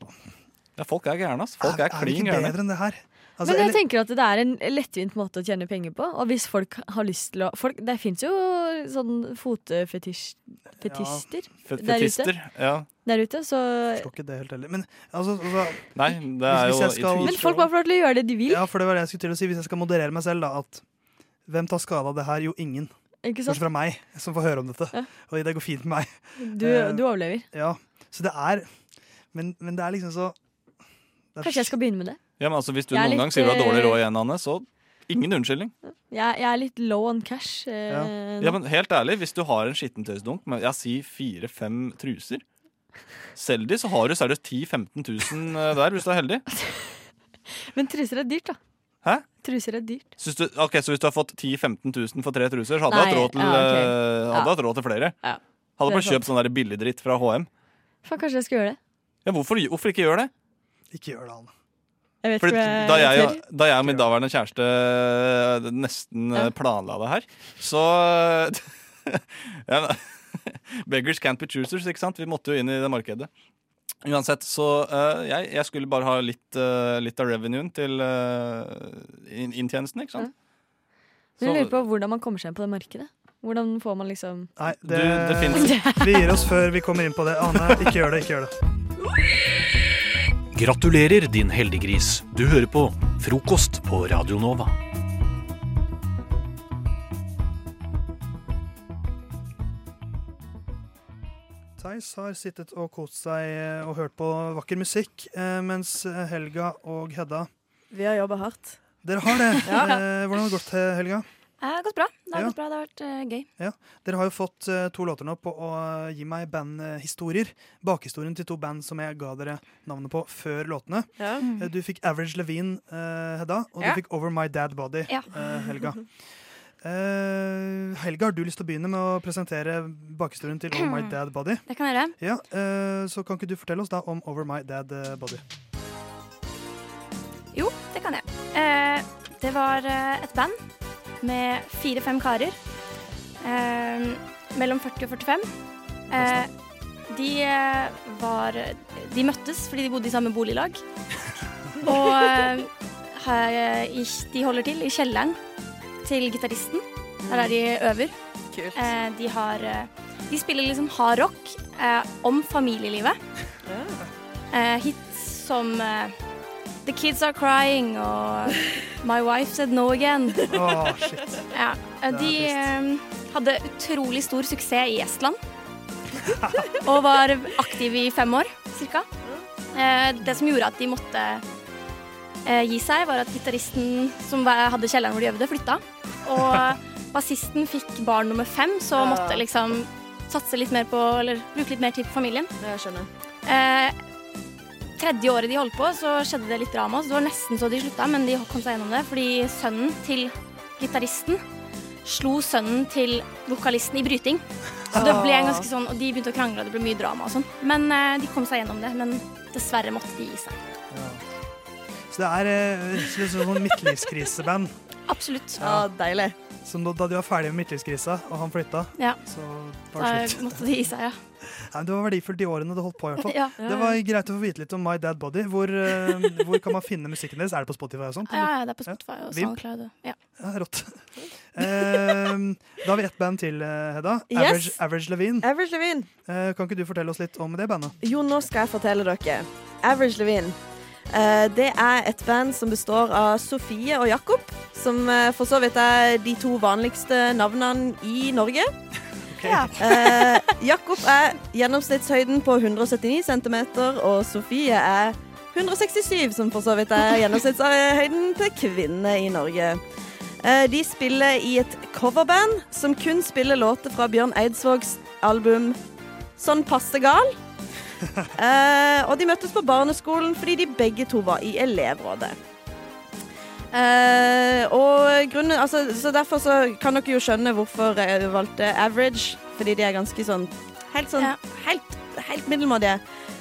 Ja, folk er gærne, ass. Folk er
er, er det
klin
ikke
gærne.
bedre enn det her? Altså,
Men jeg
eller-
tenker at det er en lettvint måte å tjene penger på. Og hvis folk har lyst til å folk, Det fins jo sånn fotfetisjer
Fet-
der ute.
Fetister. Ja.
der ute, så
forstår ikke det helt heller. Men altså, altså
Nei, det er
Hvis-
jo
hvis jeg skal-
i
Men
tvil.
folk bare får lov til å gjøre det de vil,
Ja, for det var det jeg skulle til å si. Hvis jeg skal moderere meg selv, da, at hvem tar skade av det her? Jo, ingen.
ikke
Bortsett
sant?
fra meg, som får høre om dette.
Ja.
Og det går fint med meg.
Du,
Eh,
du overlever.
Ja, så det er Men, men det er liksom så det er
Kanskje jeg skal begynne med det.
Ja, men altså, hvis du
Jeg er
noen
litt,
gang sier du har dårlig
eh,
råd igjen, Anne, så ingen unnskyldning.
Jeg, jeg er litt low on cash. eh, nå.
Ja, men helt ærlig, hvis du har en skittentøysdunk med jeg sier fire-fem truser Selg de, så har du seriøst 10 000-15 000 eh, der, hvis du er heldig.
men truser er dyrt, da.
Hæ?
Truser er dyrt.
Syns du, ok, Så hvis du har fått 10 000-15 000 for tre truser, så hadde du hatt
Nei,
råd til,
ja, ok.
eh, hadde
Ja.
du hatt råd til flere.
Ja,
Hadde
det er
bare kjøpt sånn der billigdritt fra HM.
Faen, kanskje jeg skal gjøre det.
Ja, hvorfor, hvorfor ikke gjøre det?
Ikke gjør det, Anne.
Jeg vet
Fordi
ikke om
da
jeg
jeg,
tør.
da jeg og min daværende kjæreste eh, nesten eh,
Ja.
planla det her, så ja, men- Beggars can't be choosers, ikke sant? Vi måtte jo inn i det markedet. Uansett, så eh, jeg, jeg skulle bare ha litt, eh, litt av revenuen til eh, inn- inntjenesten, ikke sant?
Men jeg
Så-
lurer på hvordan man kommer seg inn på det markedet. Hvordan får man liksom
Nei,
Du, det finnes
Vi gir oss før vi kommer inn på det. Anne, ikke gjør det. ikke gjør det
Gratulerer, din heldiggris. Du hører på Frokost på Radio Nova.
Theis har sittet og kost seg eh, og hørt på vakker musikk, eh, mens eh, Helga og Hedda
Vi har jobba hardt.
Dere har det.
Ja.
Eh, Hvordan har det gått, eh, Helga?
Det har gått bra. Det har
Ja.
gått bra. Det har vært eh, gøy.
Dere har jo fått eh, to låter nå på å eh, gi meg bandhistorier. Bakhistorien til to band som jeg ga dere navnet på før låtene.
Ja.
Eh, Du fikk Average Levine, eh, Hedda, og
Ja.
du fikk Over My Dad Body,
Ja.
eh, Helga. Eh, Helga, har du lyst til å begynne med å presentere bakhistorien til Over My Dad Body?
Mm. Det kan jeg gjøre.
Ja, eh, Så kan ikke du fortelle oss da om Over My Dad eh, Body?
Jo, det kan jeg. Eh, det var eh, et band med fire-fem karer. Eh, mellom 40 og 45. Eh, de eh, var De møttes fordi de bodde i samme boliglag. Og eh, her, eh, i, de holder til i kjelleren til gitaristen. Der er de øver.
Kult.
Eh, de har eh, De spiller liksom hard rock eh, om familielivet.
Ah.
Eh, hits som eh, The Kids Are Crying og My Wife Said No Again.
Åh, shit.
Ja, eh,
Det er
de eh, hadde utrolig stor suksess i Estland. og var aktive i fem år, cirka. Eh, det som gjorde at de måtte eh, gi seg, var at gitaristen som var- hadde kjelleren hvor de øvde, flytta. Og bassisten fikk barn nummer fem, så
Ja.
måtte liksom satse litt mer på Eller bruke litt mer tid på familien.
Jeg skjønner.
Eh, tredje året de holdt på, så skjedde det litt drama. Så det var nesten så de slutta, men de kom seg gjennom det. Fordi sønnen til gitaristen slo sønnen til vokalisten i bryting. Så det ble en ganske sånn, og de begynte å krangle, og det ble mye drama og sånn. Men eh, de kom seg gjennom det. Men dessverre måtte de gi seg.
Ja. Så det er eh, litt sånn sånn midtlivskriseband.
Absolutt.
Ja, deilig.
Så nå- da de var ferdige med midtlivskrisa, og han flytta,
Ja.
så var
Da
det slutt.
måtte de gi seg, ja.
Nei, det var verdifullt de årene det holdt på. i hvert fall
ja.
Det var greit å få vite litt om My Dad Body. Hvor, eh, hvor kan man finne musikken deres? Er det på Spotify og sånt?
Ja,
eller?
ja, det er på Spotify og
Vimp.
SoundCloud. og- Ja.
Ja, rått. Ehm, da har vi ett band til, eh, Hedda.
Yes.
Average, Average Levine.
Average Levine.
Eh, kan ikke du fortelle oss litt om det bandet?
Jo, nå skal jeg fortelle dere. Average Levine. Eh, Det er et band som består av Sofie og Jakob, som eh, for så vidt er de to vanligste navnene i Norge. Ja. Eh, Jakob er gjennomsnittshøyden på 179 cm, og Sofie er 167, som for så vidt er gjennomsnittshøyden til kvinner i Norge. Eh, De spiller i et coverband som kun spiller låter fra Bjørn Eidsvågs album 'Sånn passe gal'. Eh, og de møttes på barneskolen fordi de begge to var i elevrådet. Eh, og grunnen, altså, så derfor så kan dere jo skjønne hvorfor jeg valgte average, fordi de er ganske sånn Helt sånn
Ja.
helt, helt middelmådige.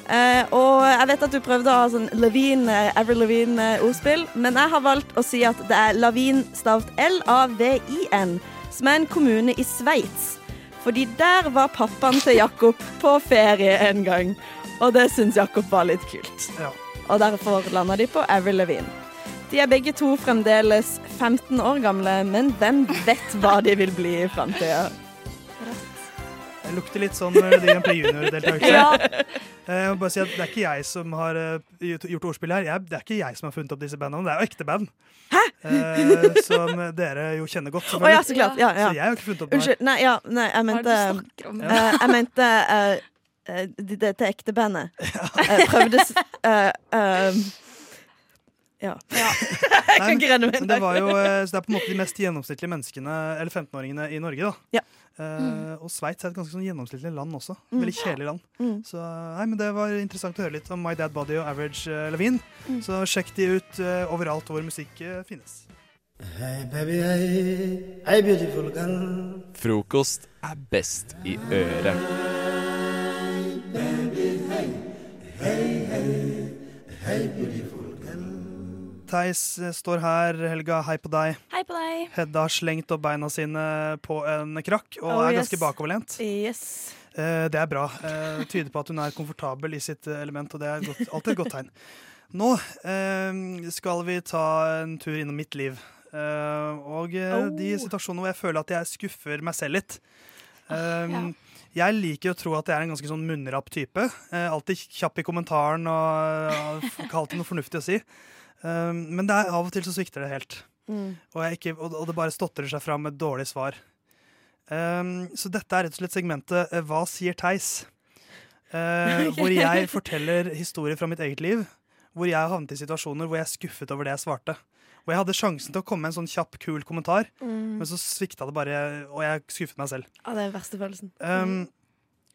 Eh, og jeg vet at du prøvde å ha sånn Levine, eh, Avril Levine-ordspill, men jeg har valgt å si at det er Lavin stavt L-A-V-I-N, som er en kommune i Sveits. Fordi der var pappaen til Jakob på ferie en gang, og det syns Jakob var litt kult.
Ja.
Og derfor landa de på Avril Levine. De er begge to fremdeles 15 år gamle, men hvem vet hva de vil bli i framtida?
Det lukter litt sånn Melodi Grand Prix Junior-deltakelse.
Ja.
Eh, Jeg må bare si at Det er ikke jeg som har eh, gjort gjort ordspillet her. Jeg, det er ikke jeg som har funnet opp disse bandene. Det er jo ekte band. Eh, som dere jo kjenner godt.
Å ja, så klart. Ja, ja.
Så jeg har ikke funnet opp noe.
Unnskyld. Nei, ja, nei jeg mente
Hva er det du snakker om?
eh, Jeg mente eh, eh, d- dette ekte bandet. Jeg prøvde s- eh, eh, Ja. Jeg kan ikke renne meg
Men
en
det
dag.
var jo, eh, så det er på en måte de mest gjennomsnittlige menneskene, eller 15-åringene i Norge, da.
Ja.
Eh, og Sveits er et ganske sånn gjennomsnittlig land også.
Mm.
Veldig kjedelig land.
Mm.
Så nei, men Det var interessant å høre litt om My Dad Body og Average eh, Levine.
Mm.
Så sjekk de ut eh, overalt hvor musikk eh, finnes.
Frokost er best i øret.
Theis eh, står her. Helga, hei på deg.
Hei på deg.
Hedda har slengt opp beina sine på en krakk og
Oh,
er
yes.
ganske bakoverlent.
Yes.
Eh, det er bra. Eh, tyder på at hun er komfortabel i sitt eh, element, og det er godt, alltid et godt tegn. Nå eh, skal vi ta en tur innom mitt liv. Eh, og eh,
Oh.
de situasjonene hvor jeg føler at jeg skuffer meg selv litt. Eh, Jeg liker å tro at jeg er en ganske sånn munnrapp type. Eh, alltid kjapp i kommentaren og eh, f- alltid noe fornuftig å si. Eh, men det er, av og til så svikter det helt.
Mm.
Og, jeg ikke, og og det bare stotrer seg fram med dårlig svar. Um, så dette er rett og slett segmentet eh, Hva sier Theis? Eh, hvor jeg forteller historier fra mitt eget liv. Hvor jeg har havnet i situasjoner hvor jeg er skuffet over det jeg svarte. Hvor jeg hadde sjansen til å komme med en sånn kjapp, kul kommentar, men så svikta det bare, og jeg skuffet meg selv.
Ja, det er den verste følelsen.
Um,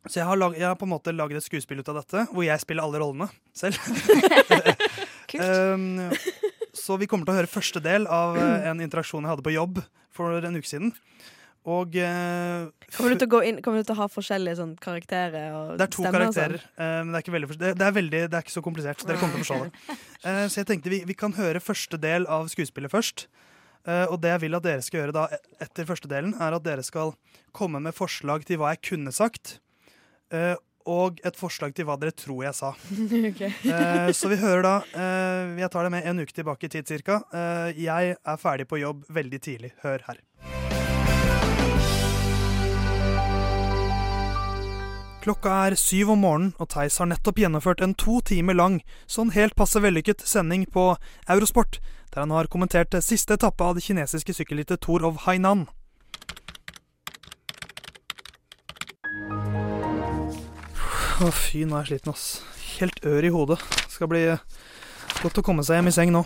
Så jeg har, lag, jeg har på en måte laget et skuespill ut av dette, hvor jeg spiller alle rollene selv. um, så vi kommer til å høre første del av eh, en interaksjon jeg hadde på jobb for en uke siden. Og eh,
Kommer du til å, gå inn, kommer du til å ha forskjellige sånn, karakterer og
det er to
stemmer og sånn?
karakterer, eh, men det er, ikke veldig, fors- det, det, er veldig, det er ikke så komplisert. så Dere kommer til å forstå det. Eh, så jeg tenkte vi, vi kan høre første del av skuespillet først. Eh, og det jeg vil at dere skal gjøre da e- etter første delen, er at dere skal komme med forslag til hva jeg kunne sagt, eh, og et forslag til hva dere tror jeg sa. Eh, så vi hører da eh, Jeg tar det med en uke tilbake i tid cirka. Eh, jeg er ferdig på jobb veldig tidlig. Hør her. Klokka er syv om morgenen, og Theis har nettopp gjennomført en to timer lang, sånn helt passe vellykket sending på Eurosport, der han har kommentert siste etappe av det kinesiske sykkelrittet Tour of Hainan. Å fy, nå er jeg sliten, ass. Helt ør i hodet. Skal bli eh, godt å komme seg hjem i seng nå.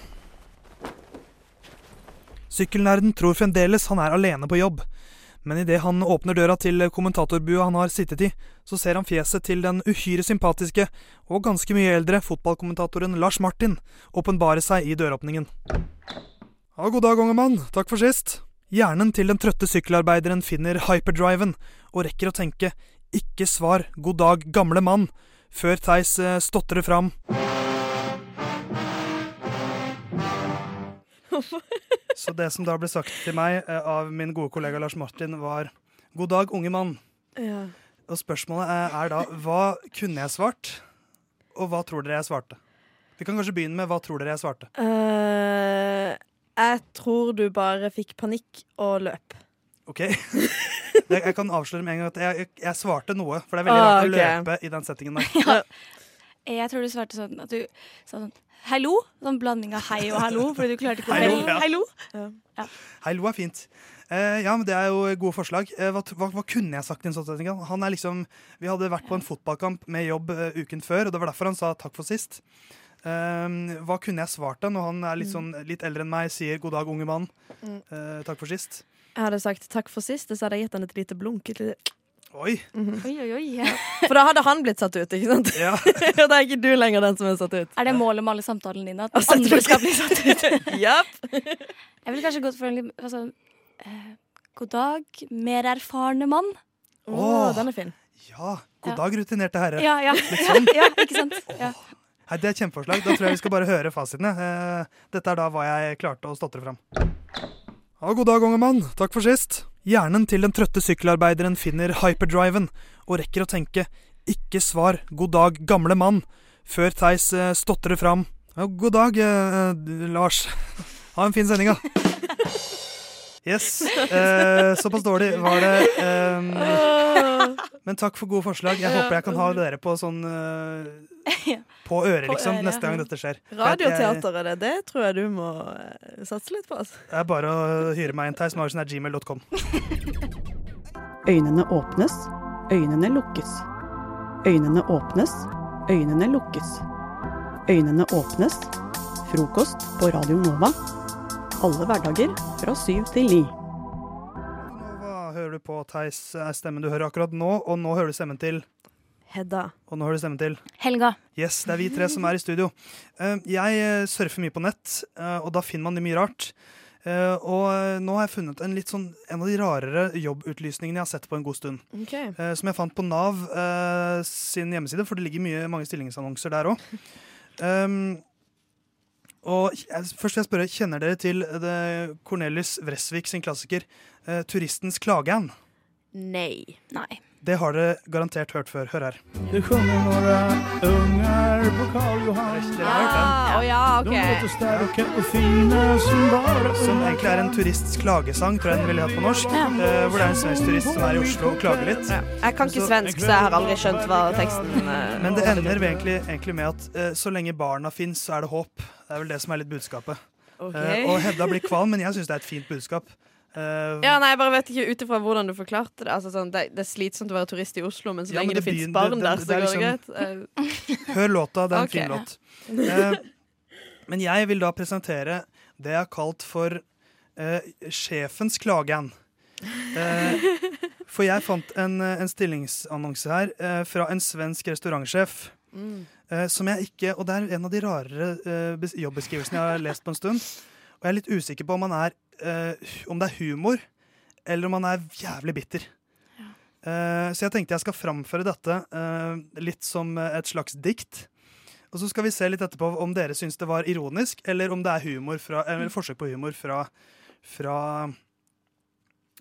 Sykkelnerden tror fremdeles han er alene på jobb, men idet han åpner døra til kommentatorbua han har sittet i, så ser han fjeset til den uhyre sympatiske og ganske mye eldre fotballkommentatoren Lars Martin åpenbare seg i døråpningen. Ja, god dag, unge mann. Takk for sist. Hjernen til den trøtte sykkelarbeideren finner hyperdriven og rekker å tenke ikke svar god dag, gamle mann, før Theis eh, stotrer fram. Så det som da ble sagt til meg eh, av min gode kollega Lars Martin, var god dag, unge mann.
Ja.
Og spørsmålet er, er da hva kunne jeg svart, og hva tror dere jeg svarte? Vi kan kanskje begynne med hva tror dere jeg svarte.
Eh, jeg tror du bare fikk panikk og løp.
Ok? Jeg, jeg kan avsløre med en gang at jeg, jeg, jeg svarte noe, for det er veldig
Ah,
rart å
ok.
løpe i den settingen der.
Jeg tror du svarte sånn at du sa sånn Hallo? Sånn blanding av hei og hallo, fordi du klarte ikke å
Hallo,
velge.
ja.
Hallo?
Hallo er fint. Eh, ja, men Det er jo gode forslag. Eh, hva, t- hva, hva kunne jeg sagt i en sånn setting? Han er liksom, Vi hadde vært på en fotballkamp med jobb eh, uken før, og det var derfor han sa takk for sist. Eh, hva kunne jeg svart da, når han er
Mm.
litt, sånn, litt eldre enn meg, sier god dag, unge mann,
Mm.
eh, takk for sist?
Jeg hadde sagt takk for sist, og så hadde jeg gitt han et lite blunk. et lite- Mhm.
Oi!
Oi, oi, oi.
For da hadde han blitt satt ut, ikke sant?
Ja.
Og da er ikke du lenger den som er satt ut.
Er det målet med alle samtalene dine? At
Altså, jeg tror
andre skal
ikke-
bli satt ut?
Japp.
Jeg ville kanskje gått for en litt altså, eh, God dag, mer erfarne mann.
Å,
Åh.
den er fin.
Ja, God dag, rutinerte herre.
Ja, ja.
Liksom.
ja, ikke sant? Ja.
Nei, det er et kjempeforslag. Da tror jeg vi skal bare høre fasitene. Eh, Dette er da hva jeg klarte å stotre fram. Ja, god dag, unge mann. Takk for sist. Hjernen til den trøtte sykkelarbeideren finner hyperdriven og rekker å tenke 'ikke svar, god dag, gamle mann', før Theis eh, stotrer fram 'ja, god dag, eh, eh, Lars'. Ha en fin sending, da. Yes. Eh, såpass dårlig var det. Eh, men takk for gode forslag. Jeg håper jeg kan ha dere på sånn eh, på øret,
På
liksom,
øret,
neste
ja.
gang dette skjer. Jeg-
Radioteateret, det tror jeg du må eh, satse litt på. Altså.
Det er bare å hyre meg inn, Theis. Marsen er gmail.com.
Øynene åpnes, øynene lukkes. Øynene åpnes, øynene lukkes. Øynene åpnes. Frokost på Radio Nova. Alle hverdager fra syv til ni.
Hva hører du på, Theis? er stemmen du hører akkurat nå, og nå hører du stemmen til
Hedda.
Og nå hører du stemmen til
Helga.
Yes, det er vi tre som er i studio. Eh, Jeg eh, surfer mye på nett, eh, og da finner man det mye rart. Eh, Og eh, nå har jeg funnet en, litt sånn, en av de rarere jobbutlysningene jeg har sett på en god stund. Eh, Som jeg fant på Nav eh, sin hjemmeside, for det ligger mye, mange stillingsannonser der òg. og jeg, først vil jeg spørre, kjenner dere til eh, det Cornelius Vresvik sin klassiker eh, 'Turistens klageand'?
Nei.
Nei.
Det har dere garantert hørt før. Hør her.
Det kommer några ungar på Karl Johan
Ja, Ah, å ja,
De
ok.
låter starka och fina som bara
Som egentlig er en turists klagesang, tror jeg den ville hatt på norsk. eh, hvor det er en svensk turist som er i Oslo og klager litt.
Jeg kan ikke svensk, så jeg har aldri skjønt hva teksten eh,
Men det ender ved egentlig, egentlig med at eh, så lenge barna fins, så er det håp. Det er vel det som er litt budskapet.
Ok.
Eh, og Hedda blir kvalm, men jeg syns det er et fint budskap. Eh,
Ja, nei, jeg bare vet ikke ut ifra hvordan du forklarte det. Altså, sånn, det. Det er slitsomt å være turist i Oslo, men så
Ja,
lenge
men
det,
det
finnes barn
begynner- det-
der,
det-
så går det
det er liksom-
greit. Eh,
Hør låta, det er en
Ok.
fin låt. Eh, men jeg vil da presentere det jeg har kalt for eh, sjefens klageand. Eh, for jeg fant en, eh, en stillingsannonse her eh, fra en svensk restaurantsjef.
Mm.
eh, som jeg ikke, og Det er en av de rarere eh, bes- jobbbeskrivelsene jeg har lest på en stund. Og jeg er litt usikker på om, han er, eh, om det er humor, eller om han er jævlig bitter. Eh, så jeg tenkte jeg skal framføre dette eh, litt som eh, et slags dikt. Og så skal vi se litt etterpå om dere syns det var ironisk, eller om det er humor fra, eller forsøk på humor fra, fra,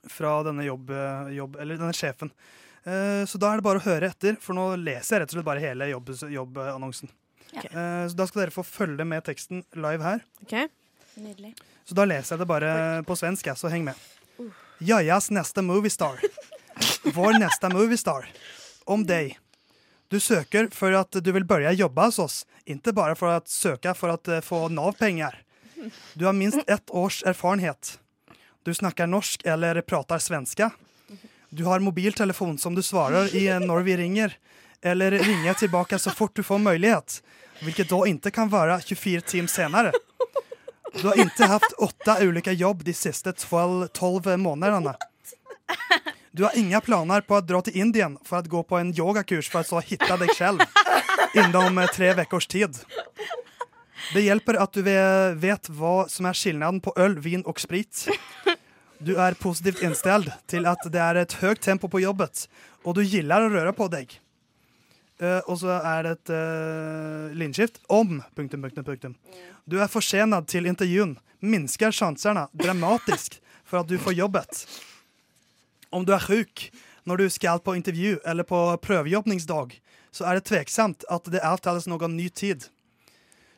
fra denne jobb, eh, jobb, eller denne sjefen. Eh, Så da er det bare å høre etter, for nå leser jeg rett og slett bare hele jobb- jobbannonsen. Eh, Så da skal dere få følge med teksten live her.
Nydelig.
Så da leser jeg det bare på svensk, jeg, så heng med. Jajas neste moviestar. Vår neste moviestar. Om deg. Du søker for at du vil börja jobba hos oss, ikke bare for å søke for å få Nav-penger. Du har minst ett års erfarenhet. Du snakker norsk eller prater svenska. Du har mobiltelefon som du svarer i når vi ringer, eller ringer tilbake så fort du får mulighet, hvilket da ikke kan være 24 timer senere. Du har ikke hatt åtte ulike jobb de siste tolv månedene. Du har ingen planer på å dra til Indien for å gå på en yogakurs for å så finne deg selv innom eh, tre ukers tid. Det hjelper at du ve- vet hva som er forskjellen på øl, vin og sprit. Du er positivt innstilt til at det er et høyt tempo på jobbet, og du gillar å røre på deg. Eh, og så er det et uh, linjeskift om punktum, punktum, punktum. Du er forsenet til intervjuen. Minsker sjansene dramatisk for at du får jobbet. Om du er sjuk når du skal på intervju eller på prøvejobbningsdag, så er det tveksomt at det avtales noen ny tid.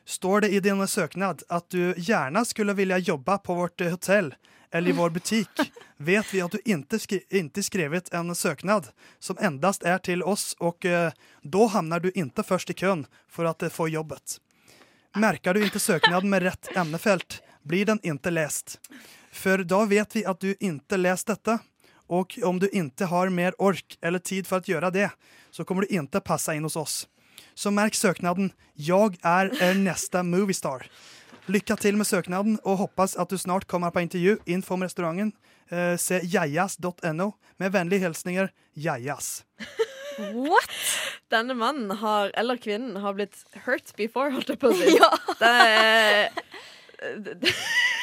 Står det i din søknad at du gjerne skulle vilja jobba på vårt hotell eller i vår butik vet vi at du inte, skri inte skrivit en søknad som endast är till oss och eh, då hamnar du inte först i kön för att eh, få jobbet. Märker du inte söknaden med rätt ämnefält blir den inte läst. För då vet vi att du inte läst detta och om du inte har mer ork eller tid för att göra det så kommer du inte passa in hos oss. Så märk söknaden Jag är er nästa moviestar. Lycka till med söknaden och hoppas att du snart kommer på intervju. Info om restaurangen. Eh, se jajas.no. Med vänliga hälsningar, Jajas.
What?! Denne mannen har, eller kvinnen, har blitt hurt before, holdt jeg på å si. Det er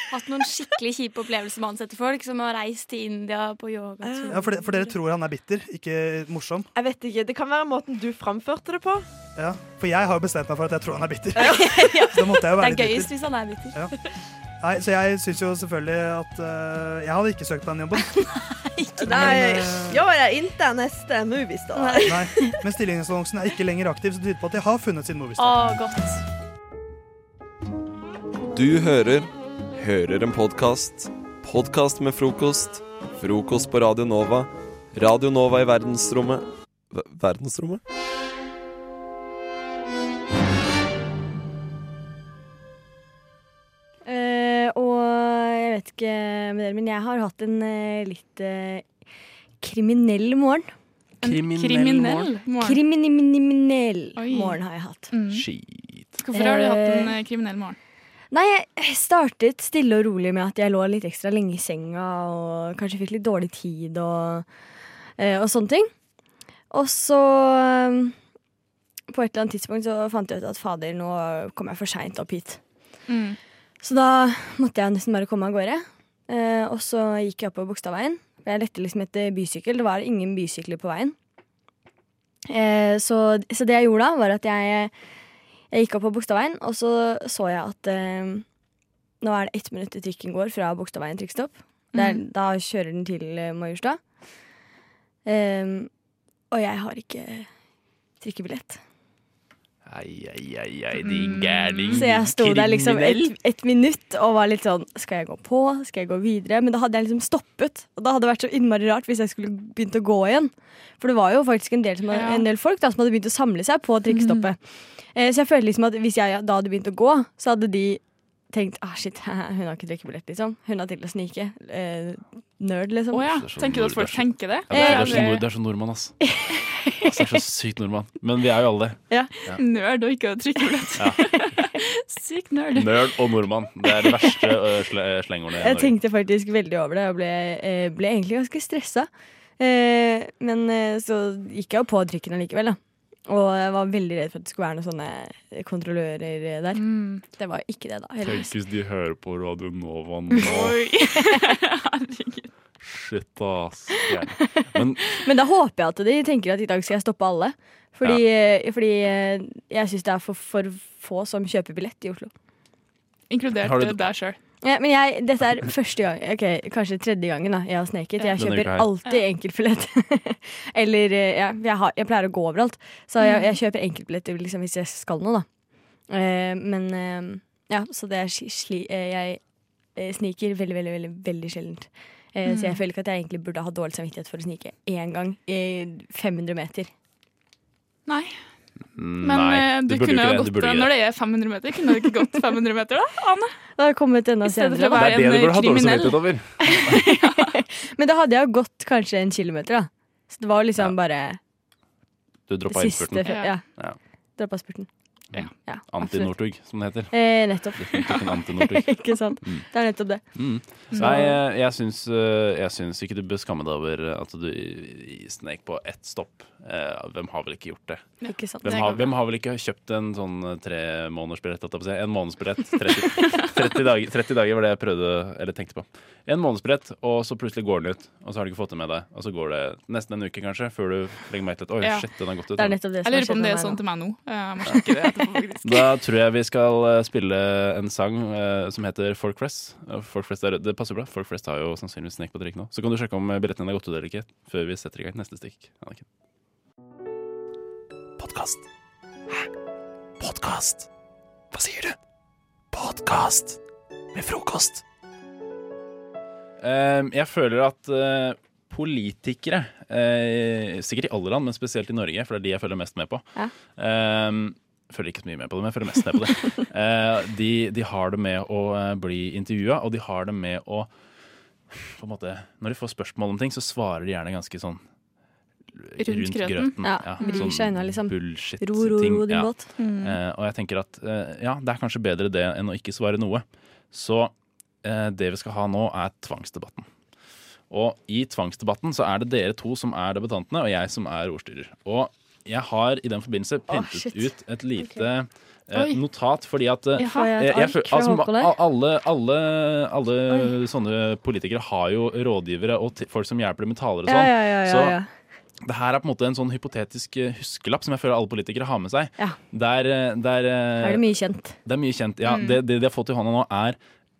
hatt noen skikkelig kjipe opplevelser med ansatte folk, som har reist til India på yogatur.
Ja, for, de, for dere tror han er bitter, ikke morsom.
Jeg vet ikke, Det kan være måten du framførte det på.
Ja, For jeg har jo bestemt meg for at jeg tror han er bitter. Så da måtte jeg
Det
jo være
er
litt
gøyest
bitter.
hvis han er bitter.
Ja. Nei, så jeg syns jo selvfølgelig at eh, Jeg hadde ikke søkt på den jobben.
Nei, jo, jeg er inntil neste movies, da.
eh, Nei, Men stillingsannonsen er ikke lenger aktiv, så det tyder på at de har funnet sin moviestar.
Å, godt.
Du hører Hører en podkast. Podkast med frokost. Frokost på Radio Nova. Radio Nova i verdensrommet Ver- Verdensrommet?
Eh, og jeg vet ikke med dere, men jeg har hatt en eh, litt eh, kriminell morgen. En
Kriminell
kriminell morgen?
Kriminell
Oi. Mm.
morgen har jeg hatt.
Hvorfor har du hatt en
Eh,
eh, kriminell morgen?
Nei, jeg startet stille og rolig med at jeg lå litt ekstra lenge i senga og kanskje fikk litt dårlig tid og, eh, og sånne ting. Og så eh, på et eller annet tidspunkt så fant jeg ut at fader, nå kom jeg for seint opp hit.
Mm.
Så da måtte jeg nesten bare komme av gårde. Eh, og så gikk jeg oppover Bogstadveien. For jeg lette liksom etter bysykkel. Det var ingen bysykler på veien. Eh, så, så det jeg gjorde da, var at jeg, jeg gikk opp på Bogstadveien, og så så jeg at eh, nå er det ett minutt til trikken går fra Bogstadveien trikkstopp. Der,
Mhm.
Da kjører den til eh, Majorstad. Eh, og jeg har ikke trikkebillett.
Ei, ei, ei, ei, din gærning.
Så jeg sto der liksom
Kriminell.
et, et minutt og var litt sånn Skal jeg gå på? Skal jeg gå videre? Men da hadde jeg liksom stoppet. Og da hadde det vært så innmari rart hvis jeg skulle begynt å gå igjen. For det var jo faktisk en del, som,
Ja. Mhm.
en del folk da, som hadde begynt å samle seg på trikkestoppet. Eh, så jeg følte liksom at hvis jeg da hadde begynt å gå, så hadde de tenkt ah shit, hun har ikke drikkebillett, liksom. Hun har til å snike. Eh, nerd, liksom.
Å ja. Tenker du at folk tenker det?
Ja, det
Eh,
er så
Du er så nordmann, ass. Altså, jeg er så sykt nordmann. Men vi er jo alle det.
Ja.
Ja.
Nerd og ikke å trykke billett. Sykt nerd.
Nerd og nordmann. Det er det verste ø, sle slengordet. i
Jeg
Norge.
tenkte faktisk veldig over det og ble, eh, ble egentlig ganske stressa. Eh, men eh, så gikk jeg jo på drikken allikevel, da. Og jeg var veldig redd for at det skulle være noen sånne kontrollører eh, der. Det var jo ikke det, da. Heldigvis.
Tenk hvis de hører på Radio Nova nå. Shit, ass. Gærning. Men
Men da håper jeg at de tenker at i dag skal jeg stoppe alle. Fordi, eh, fordi eh, jeg syns det er for, for få som kjøper billett i Oslo.
Inkludert
Har du-
eh, deg sjøl.
Ja, men jeg, dette er første gang, ok, kanskje tredje gangen da jeg har sneket.
Denne
Jeg kjøper
uka her.
alltid enkeltbillett. Eller eh, ja, jeg, har, jeg pleier å gå overalt, så
Mm.
jeg, jeg kjøper enkeltbillett liksom, hvis jeg skal noe, da. Eh, men eh, ja, så det er sli, sli, eh, jeg eh, sniker veldig, veldig, veldig, veldig sjeldent. Eh, Så jeg
Mm.
føler ikke at jeg egentlig burde ha dårlig samvittighet for å snike én gang i 500 meter.
Nei. Men eh,
Mm, Nei,
du,
du burde jo
kunne
ikke
jo
det.
gått
Du burde
eh,
ikke
Når
det.
det er 500 meter, kunne du ikke gått 500 meter da, Ane?
Da har jeg kommet enda
I stedet
senere.
for å
da.
være en eh, kriminell.
over.
Men da hadde jeg jo gått kanskje en kilometer, da. Så det var jo liksom bare
Du droppa
Det siste
innspurten.
før- ja.
Ja.
Droppa spurten. Ja, absolutt.
Anti-Northug, som det heter.
Eh, nettopp.
Definitivt en anti-Northug.
ikke sant.
Mm.
Det er nettopp det.
Mm.
Så-
Nei, jeg, jeg, syns, eh, jeg syns ikke du bør skamme deg over at du i- i- snek på ett stopp. Eh, Hvem har vel ikke gjort det?
Ja, ikke sant.
Hvem,
Det
har,
går bra.
hvem har vel ikke kjøpt en sånn tremånedersbillett? holdt jeg på å si? En månedsbillett. 30, 30, dager, 30 dager var det jeg prøvde, eller tenkte på. En månedsbillett, og så plutselig går den ut. Og så har du ikke fått det med deg. Og så går det nesten en uke, kanskje, før du legger merke til at oi,
Ja.
shit, den har gått ut.
Jeg lurer på om det er sånn til meg nå. Jeg må sjekke det etterpå, faktisk.
Da tror jeg vi skal eh, spille en sang eh, som heter Folk Flest. Eh, Folk Flest er, det passer bra. Folk Flest har jo sannsynligvis snek på drikk nå. Så kan du sjekke om eh, billetten din har gått ut eller ikke, før vi setter i gang neste stikk. Anniken.
Podkast. Hæ? Podkast? Hva sier du? Podkast med frokost.
Ehm, jeg føler at eh, politikere, eh, sikkert i alle land, men spesielt i Norge, for det er de jeg følger mest med på
Ja.
ehm, Følger ikke så mye med på det, men jeg følger mest med på det. Eh, de, de har det med å eh, bli intervjua, og de har det med å på en måte, Når de får spørsmål om ting, så svarer de gjerne ganske sånn
Rundt grøten. Ja, vrir seg unna, liksom.
Bullshit.
Ro, ro, ro,
ting,
din båt. Mm.
Eh, og jeg tenker at eh, ja, det er kanskje bedre det enn å ikke svare noe. Så eh, det vi skal ha nå, er tvangsdebatten. Og i tvangsdebatten så er det dere to som er debattantene, og jeg som er ordstyrer. Og jeg har i den forbindelse printet
shit.
ut et lite
Oi.
eh, notat, fordi at eh,
Jaha. Får jeg et
eh,
ark
føl- altså,
fra Håkon der?
ma- Alle, alle, alle sånne politikere har jo rådgivere og ti- folk som hjelper dem med taler og
Ja,
sånn.
ja, ja, ja, ja.
Så det her er på en måte en sånn hypotetisk eh, huskelapp som jeg føler alle politikere har med seg.
Ja.
Der, eh, der eh,
Er det mye kjent?
det er mye kjent. Ja,
Mm.
det, det de har fått i hånda nå, er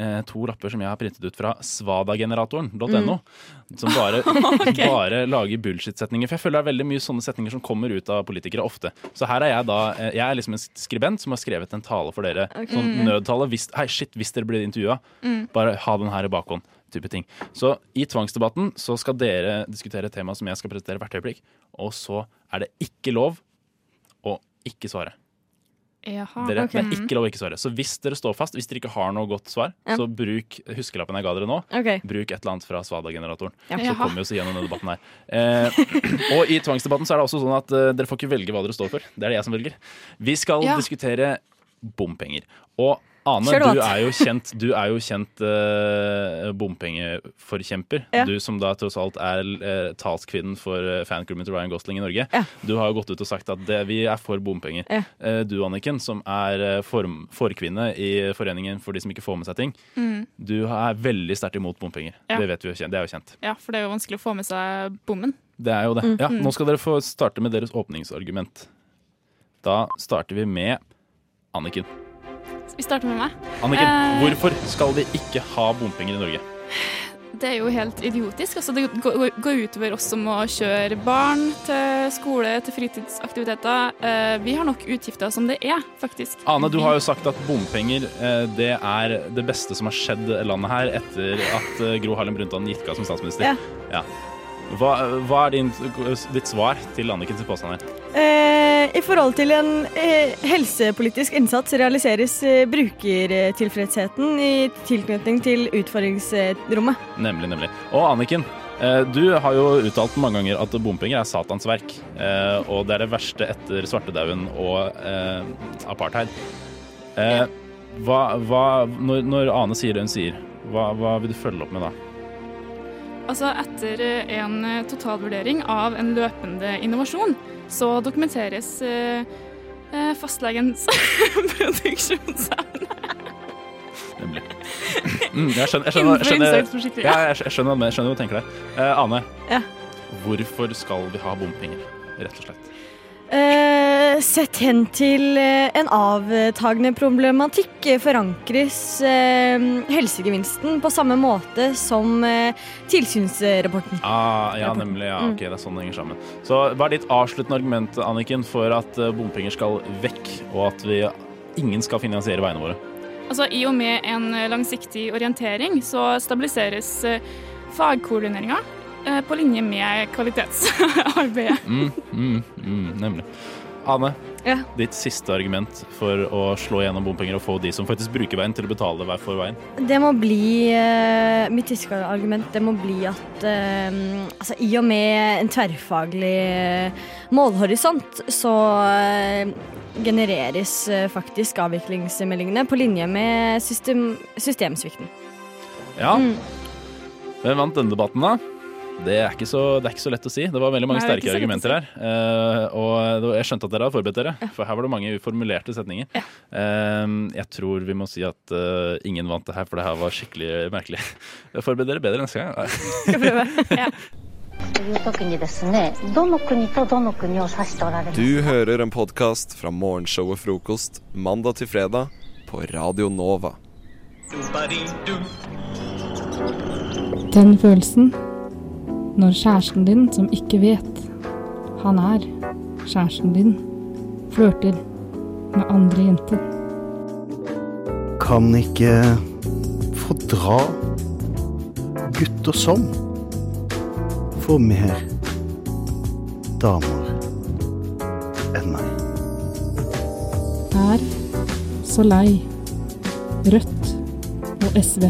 eh, to lapper som jeg har printet ut fra svadageneratoren.no.
Mm.
Som bare,
Ok.
bare lager bullshit-setninger. For jeg føler det er veldig mye sånne setninger som kommer ut av politikere ofte. Så her er jeg da eh, Jeg er liksom en skribent som har skrevet en tale for dere.
Ok.
Sånn
Mm.
nødtale. Hvis, hei, shit, hvis dere blir intervjua,
Mm.
bare ha den her i bakhånd. Type ting. Så i tvangsdebatten så skal dere diskutere et tema som jeg skal presentere hvert øyeblikk. Og så er det ikke lov å ikke svare.
Jaha.
Dere,
ok.
Det er ikke lov å ikke svare. Så hvis dere står fast, hvis dere ikke har noe godt svar,
Ja.
så bruk huskelappen jeg ga dere nå.
Ok.
Bruk et eller annet fra Svada-generatoren.
Ja.
Så
Jaha.
kommer vi oss igjennom denne debatten her. Eh, og i tvangsdebatten så er det også sånn at eh, dere får ikke velge hva dere står for. Det er det jeg som velger. Vi skal
Ja.
diskutere bompenger. Og Ane,
Kjør det
du
godt.
er jo kjent, du er jo kjent eh, bompengeforkjemper.
Ja.
Du som da tross alt er eh, talskvinnen for eh, fanklubben til Ryan Gosling i Norge. Du har jo gått ut og sagt at det, vi er for bompenger.
Ja.
Eh, du, Anniken, som er eh, form, forkvinne i Foreningen for de som ikke får med seg ting.
Mm.
Du er veldig sterkt imot bompenger.
Ja.
Det vet vi jo kjent. Det er jo kjent.
Ja, for det er jo vanskelig å få med seg bommen.
Det er jo det.
Mm.
Ja,
Mm.
nå skal dere få starte med deres åpningsargument. Da starter vi med Anniken.
Vi starter med meg.
Anniken,
Eh,
hvorfor skal vi ikke ha bompenger i Norge?
Det er jo helt idiotisk. Altså, det går, går utover oss som må kjøre barn til skole, til fritidsaktiviteter. Eh, vi har nok utgifter som det er, faktisk.
Ane, du har jo sagt at bompenger eh, det er det beste som har skjedd landet her etter at eh, Gro Harlem Brundtland gikk av som statsminister.
Ja.
Ja. Hva, hva er din, ditt svar til Annikens påstand her?
Eh, I forhold til en eh, helsepolitisk innsats realiseres eh, brukertilfredsheten i tilknytning til utfordringsrommet.
Nemlig, nemlig. Og Anniken, eh, du har jo uttalt mange ganger at bompenger er Satans verk. eh, Og det er det verste etter svartedauden og eh, apartheid. Eh, Hva, hva, når, når Ane sier det hun sier, hva, hva vil du følge opp med da?
Altså, etter eh, en eh, totalvurdering av en løpende innovasjon, så dokumenteres eh, eh, fastlegens produksjonsevne.
Nemlig. Mm, jeg skjønner, jeg skjønner, jeg skjønner,
Innenfor innsatsforsikring.
ja, jeg skjønner, hva du mener, jeg skjønner hva du tenker der. Eh, Ane,
Ja.
hvorfor skal vi ha bompenger, rett og slett?
Eh, sett hen til eh, en avtagende problematikk eh, forankres eh, helsegevinsten på samme måte som eh, tilsynsrapporten.
Ah, ja, nemlig. Ja, ok, det er sånn det henger sammen. Så hva er ditt avsluttende argument, Anniken, for at eh, bompenger skal vekk, og at vi, ingen skal finansiere veiene våre?
Altså, I og med en eh, langsiktig orientering så stabiliseres eh, fagkoordineringa eh, på linje med kvalitetsarbeidet.
Mm, mm, mm, nemlig. Ane,
Ja.
ditt siste argument for å slå gjennom bompenger og få de som faktisk bruker veien, til å betale hver for veien.
Det må bli eh, Mitt tyske argument det må bli at eh, altså, i og med en tverrfaglig eh, målhorisont, så eh, genereres eh, faktisk avviklingsmeldingene på linje med system, systemsvikten.
Ja. Hvem vant denne debatten, da? Det er, ikke så, det er ikke så lett å si. Det var veldig mange
Nei, det er
sterke
ikke så lett
argumenter
å
her. Eh, og det var- jeg skjønte at dere hadde forberedt dere, for her var det mange uformulerte setninger. Eh, jeg tror vi må si at eh, ingen vant det her, for det her var skikkelig merkelig. Forbered dere bedre neste gang. Nei.
という時にですねどの国とどの国を指しておられますか
Du hører en podkast fra morgenshowet Frokost mandag til fredag på Radio Nova.
Den følelsen når kjæresten din, som ikke vet han er kjæresten din, flørter med andre jenter.
Kan ikke fordra gutter som får mer damer enn meg.
Er så lei. Rødt og SV.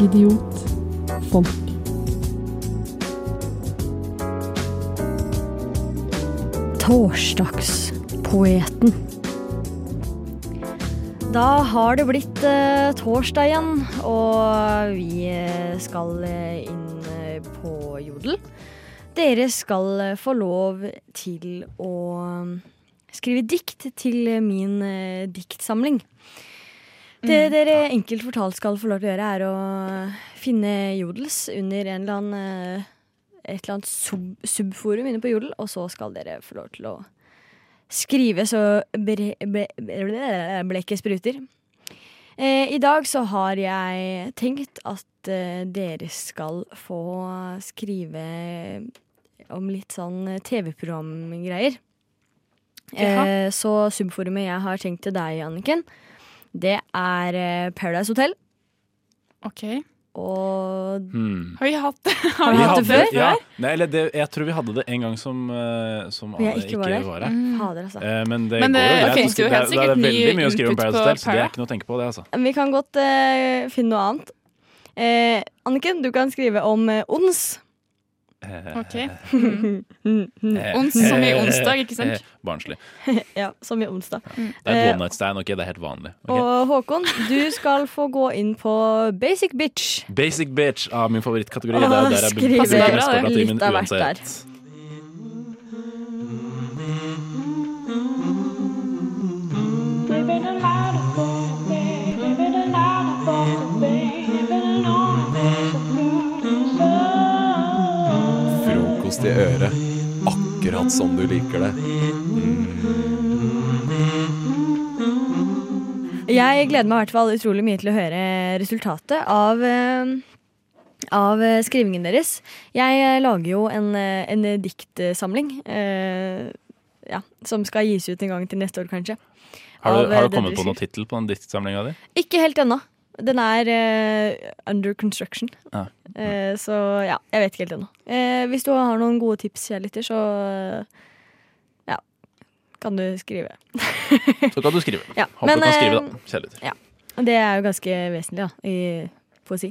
Idiot. Folk.
Torsdagspoeten. Da har det blitt eh, torsdag igjen, og vi eh, skal eh, inn eh, på Jodel. Dere skal eh, få lov til å mm, skrive dikt til min eh, diktsamling. Det dere enkelt fortalt skal få lov til å gjøre, er å eh, finne Jodels under en eller annen, eh, et eller annet sub subforum inne på Jodel, og så skal dere få lov til å skrive så bre bre bre blekket spruter. Eh, I dag så har jeg tenkt at eh, dere skal få skrive om litt sånn TV-programgreier. Eh,
Jaha.
så subforumet jeg har tenkt til deg, Anniken, det er eh, Paradise Hotel.
Ok.
Og
Hmm.
Har vi hatt det?
Har vi hatt det før?
Ja. Nei, eller det, jeg tror vi hadde det en gang som, eh, som
Hvor jeg
Anne
ikke var der.
her.
Mm. Fader, altså.
Eh, men det
Men
går jo
det
greit.
finnes jo
Det er- det
helt
er
sikkert
veldig
ny
mye å skrive om
input på
Paradise Hotel, så det er
Para.
ikke noe å tenke på, det, altså.
Vi kan godt eh, finne noe annet. Eh, Anniken, du kan skrive om eh, ons.
altså.
Ok. Mm.
Eh,
Ons som i
eh,
onsdag, ikke sant? Mm.
eh, Barnslig.
ja, som i onsdag.
Det er et
Eh,
one night stand, ok? Det er helt vanlig. Ok.
Og Håkon, du skal få gå inn på Basic Bitch.
Basic bitch av min favorittkategori.
Åh,
Det er der jeg
skriv
bruker
det.
mesteparten av timen
Litt av hvert der.
uansett.
Frokost i øret, akkurat som du liker det. Mm.
Jeg gleder meg i hvert fall utrolig mye til å høre resultatet av, eh, av eh, skrivingen deres. Jeg eh, lager jo en, eh, en diktsamling eh, ja, som skal gis ut en gang til neste år, kanskje.
Har
Av,
du,
eh,
har
det
du kommet
dere
på noen tittel på den diktsamlinga di?
skriver. Ikke helt ennå. Den er eh, under construction.
Ja.
Eh, så ja, jeg vet ikke helt ennå. Eh, hvis du har noen gode tips, kjære lytter, så eh, ja, kan du skrive.
Så kan du skrive.
Ja,
Håper du kan skrive,
eh,
da. Kjærligheter.
Ja, det er jo ganske vesentlig, da, i poesi.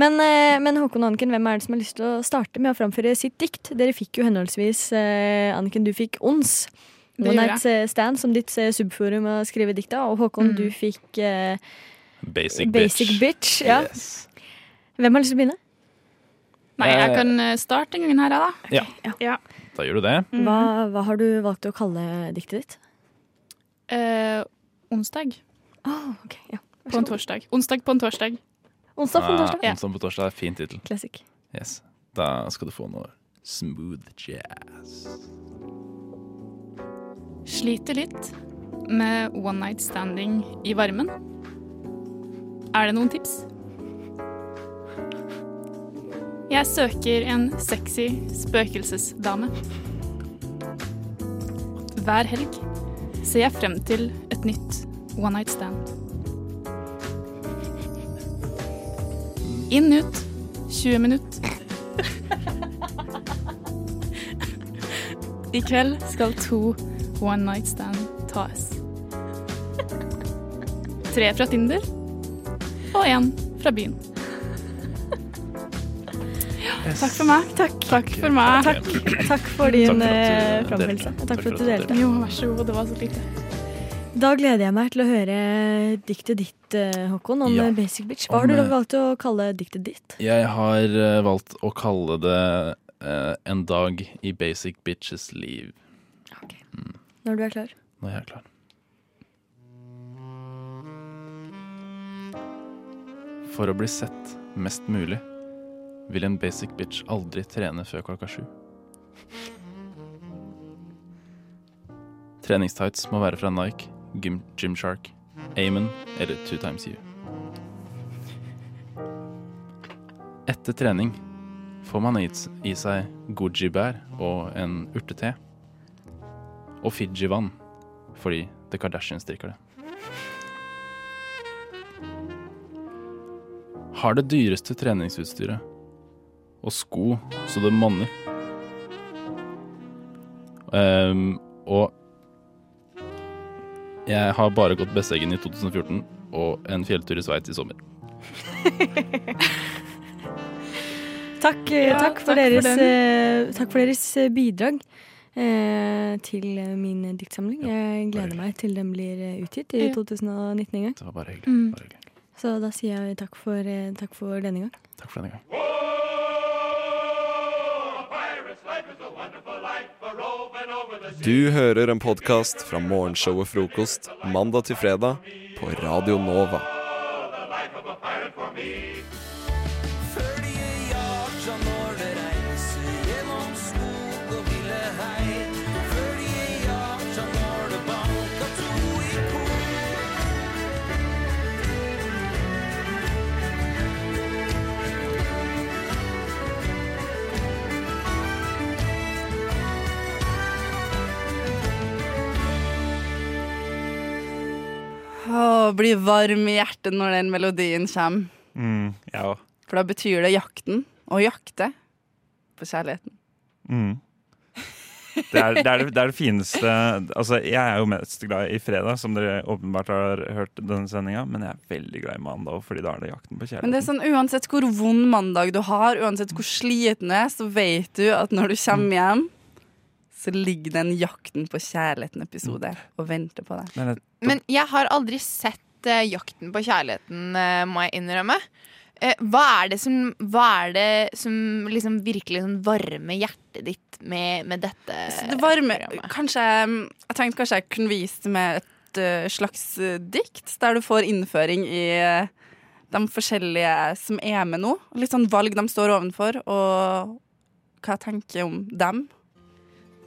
Men, eh, men Håkon og Anniken, hvem er det som har lyst til å starte med å framføre sitt dikt? Dere fikk jo henholdsvis eh, Anniken, du fikk Ons.
Det
One
gjorde
Night Stand som ditt eh, subforum å skrive dikt av. Og
Mm.
Håkon, du fikk eh,
Basic,
Basic
bitch.
Bitch. ja. Hvem har lyst til å begynne?
Nei, jeg kan eh, starte den gangen her, jeg, da.
Ja,
Ja. Mhm.
da gjør du det.
Hva, hva har du valgt å kalle diktet ditt?
Eh, onsdag.
Ah, Vær så
På en
god.
torsdag. Onsdag på en torsdag.
Onsdag
Ah, Onsdag på torsdag er fin tittel.
Classic.
Yes. Da skal du få noe smooth jazz.
Sliter litt med one night standing i varmen. Er det noen tips? Jeg søker en sexy spøkelsesdame. Hver helg ser jeg frem til et nytt one night stand. Inn ut 20 minutt. I kveld skal to one night stand tas. Tre fra Tinder og én fra byen. Ja, Takk for meg. Takk, for meg.
Takk, takk for din eh,
Takk for at du
framførelse.
delte.
og Takk for at du delte.
Jo, vær så god. Det var så lite.
Da gleder jeg meg til å høre diktet ditt, eh, Håkon, om
Ja.
eh, Basic Bitch. Hva
Om,
har du
eh,
valgt å kalle diktet ditt?
Jeg har eh, valgt å kalle det eh, En dag i basic bitches liv.
Når du er klar.
Når jeg er klar. For å bli sett mest mulig vil en basic bitch aldri trene før klokka sju. Treningstights må være fra Nike, Gym Gymshark, Amon eller Two Times You. Etter trening får man i s- i seg goji-bær og en urtete. Og Fiji-vann, fordi The Kardashians drikker det. Har det dyreste treningsutstyret og sko så det monner. Ehm, og jeg har bare gått Besseggen i 2014 og en fjelltur i Sveits i sommer.
Takk, eh,
Ja, takk
takk, for,
for
deres,
den.
eh, takk for deres eh, bidrag eh, til eh, min diktsamling. Jeg gleder meg til den blir eh, utgitt i
Ja.
2019 en gang.
Det var bare hyggelig.
Mm. Så da sier jeg takk for, eh, takk for denne gang.
Takk for denne gang.
Pirates, let
Du hører en podkast fra morgenshowet Frokost mandag til fredag på Radio Nova.
Å, bli varm i hjertet når den melodien kommer.
Mm, jeg òg.
For da betyr det jakten. Å jakte på kjærligheten.
Mm. Det, er, det, er det, det er det fineste Altså, jeg er jo mest glad i fredag, som dere åpenbart har hørt denne sendinga, men jeg er veldig glad i mandag, fordi da er det jakten på
Men det er
kjærligheten.
sånn, uansett hvor vond mandag du har, uansett hvor sliten du er, så vet du at når du
Mm.
kommer hjem, så ligger den jakten på kjærligheten-episode
Mm.
og venter på deg.
Men jeg-
Men jeg har aldri sett eh, Jakten på kjærligheten, eh, må jeg innrømme. Eh, hva er det som, hva er det som liksom virkelig sånn varmer hjertet ditt med, med dette?
Så det varme Kanskje um, Jeg tenkte kanskje jeg kunne vise det med et eh, slags eh, dikt, der du får innføring i eh, de forskjellige som er med nå. Litt sånn valg de står ovenfor, og hva jeg tenker om dem.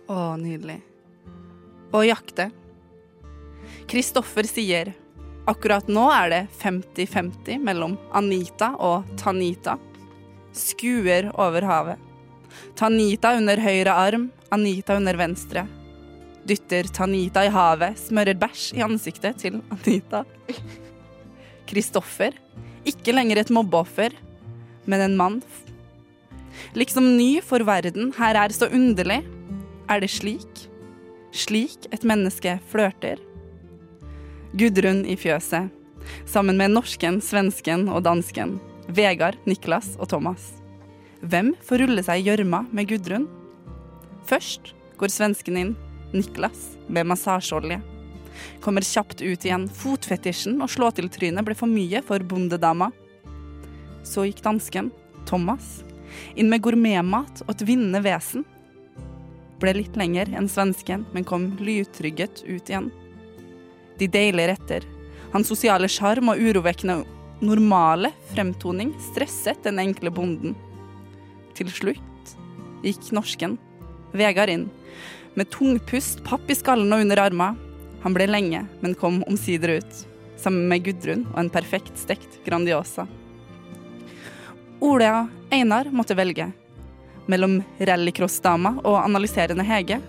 Å, nydelig. Å jakte. Kristoffer sier akkurat nå er det 50-50 mellom Anita og Tanita. Skuer over havet. Tanita under høyre arm, Anita under venstre. Dytter Tanita i havet, smører bæsj i ansiktet til Anita. Kristoffer, ikke lenger et mobbeoffer, men en mann. Liksom ny for verden, her er så underlig. Er det slik? Slik et menneske flørter? Gudrun i fjøset, sammen med norsken, svensken og dansken. Vegard, Niklas og Thomas. Hvem får rulle seg i gjørma med Gudrun? Først går svensken inn, Niklas, med massasjeolje. Kommer kjapt ut igjen, fotfetisjen og slå-til-trynet ble for mye for bondedama. Så gikk dansken, Thomas, inn med gourmetmat og et vinnende vesen. Ble litt lenger enn svensken, men kom lydtrygget ut igjen. De deilige retter. Hans sosiale sjarm og urovekkende normale fremtoning stresset den enkle bonden. Til slutt gikk norsken, Vegard, inn. Med tungpust, papp i skallen og under arma. Han ble lenge, men kom omsider ut. Sammen med Gudrun og en perfekt stekt Grandiosa. Ola Einar måtte velge mellom rallycross-dama og analyserende Hege.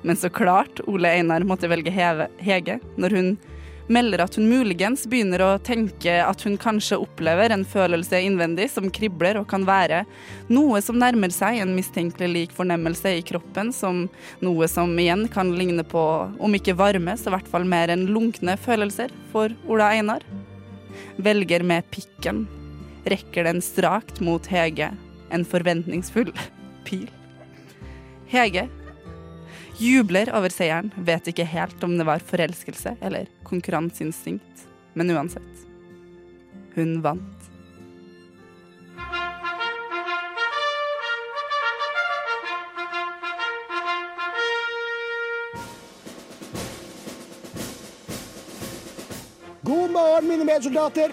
Men så klart Ole Einar måtte velge Heve, Hege når hun melder at hun muligens begynner å tenke at hun kanskje opplever en følelse innvendig som kribler og kan være noe som nærmer seg en mistenkelig lik fornemmelse i kroppen, som noe som igjen kan ligne på, om ikke varme, så i hvert fall mer enn lunkne følelser for Ola Einar. Velger med pikken. Rekker den strakt mot Hege, en forventningsfull pil. Hege Jubler over seieren, vet ikke helt om det var forelskelse eller konkurranseinstinkt, men uansett. Hun vant.
God morgen, mine medsoldater.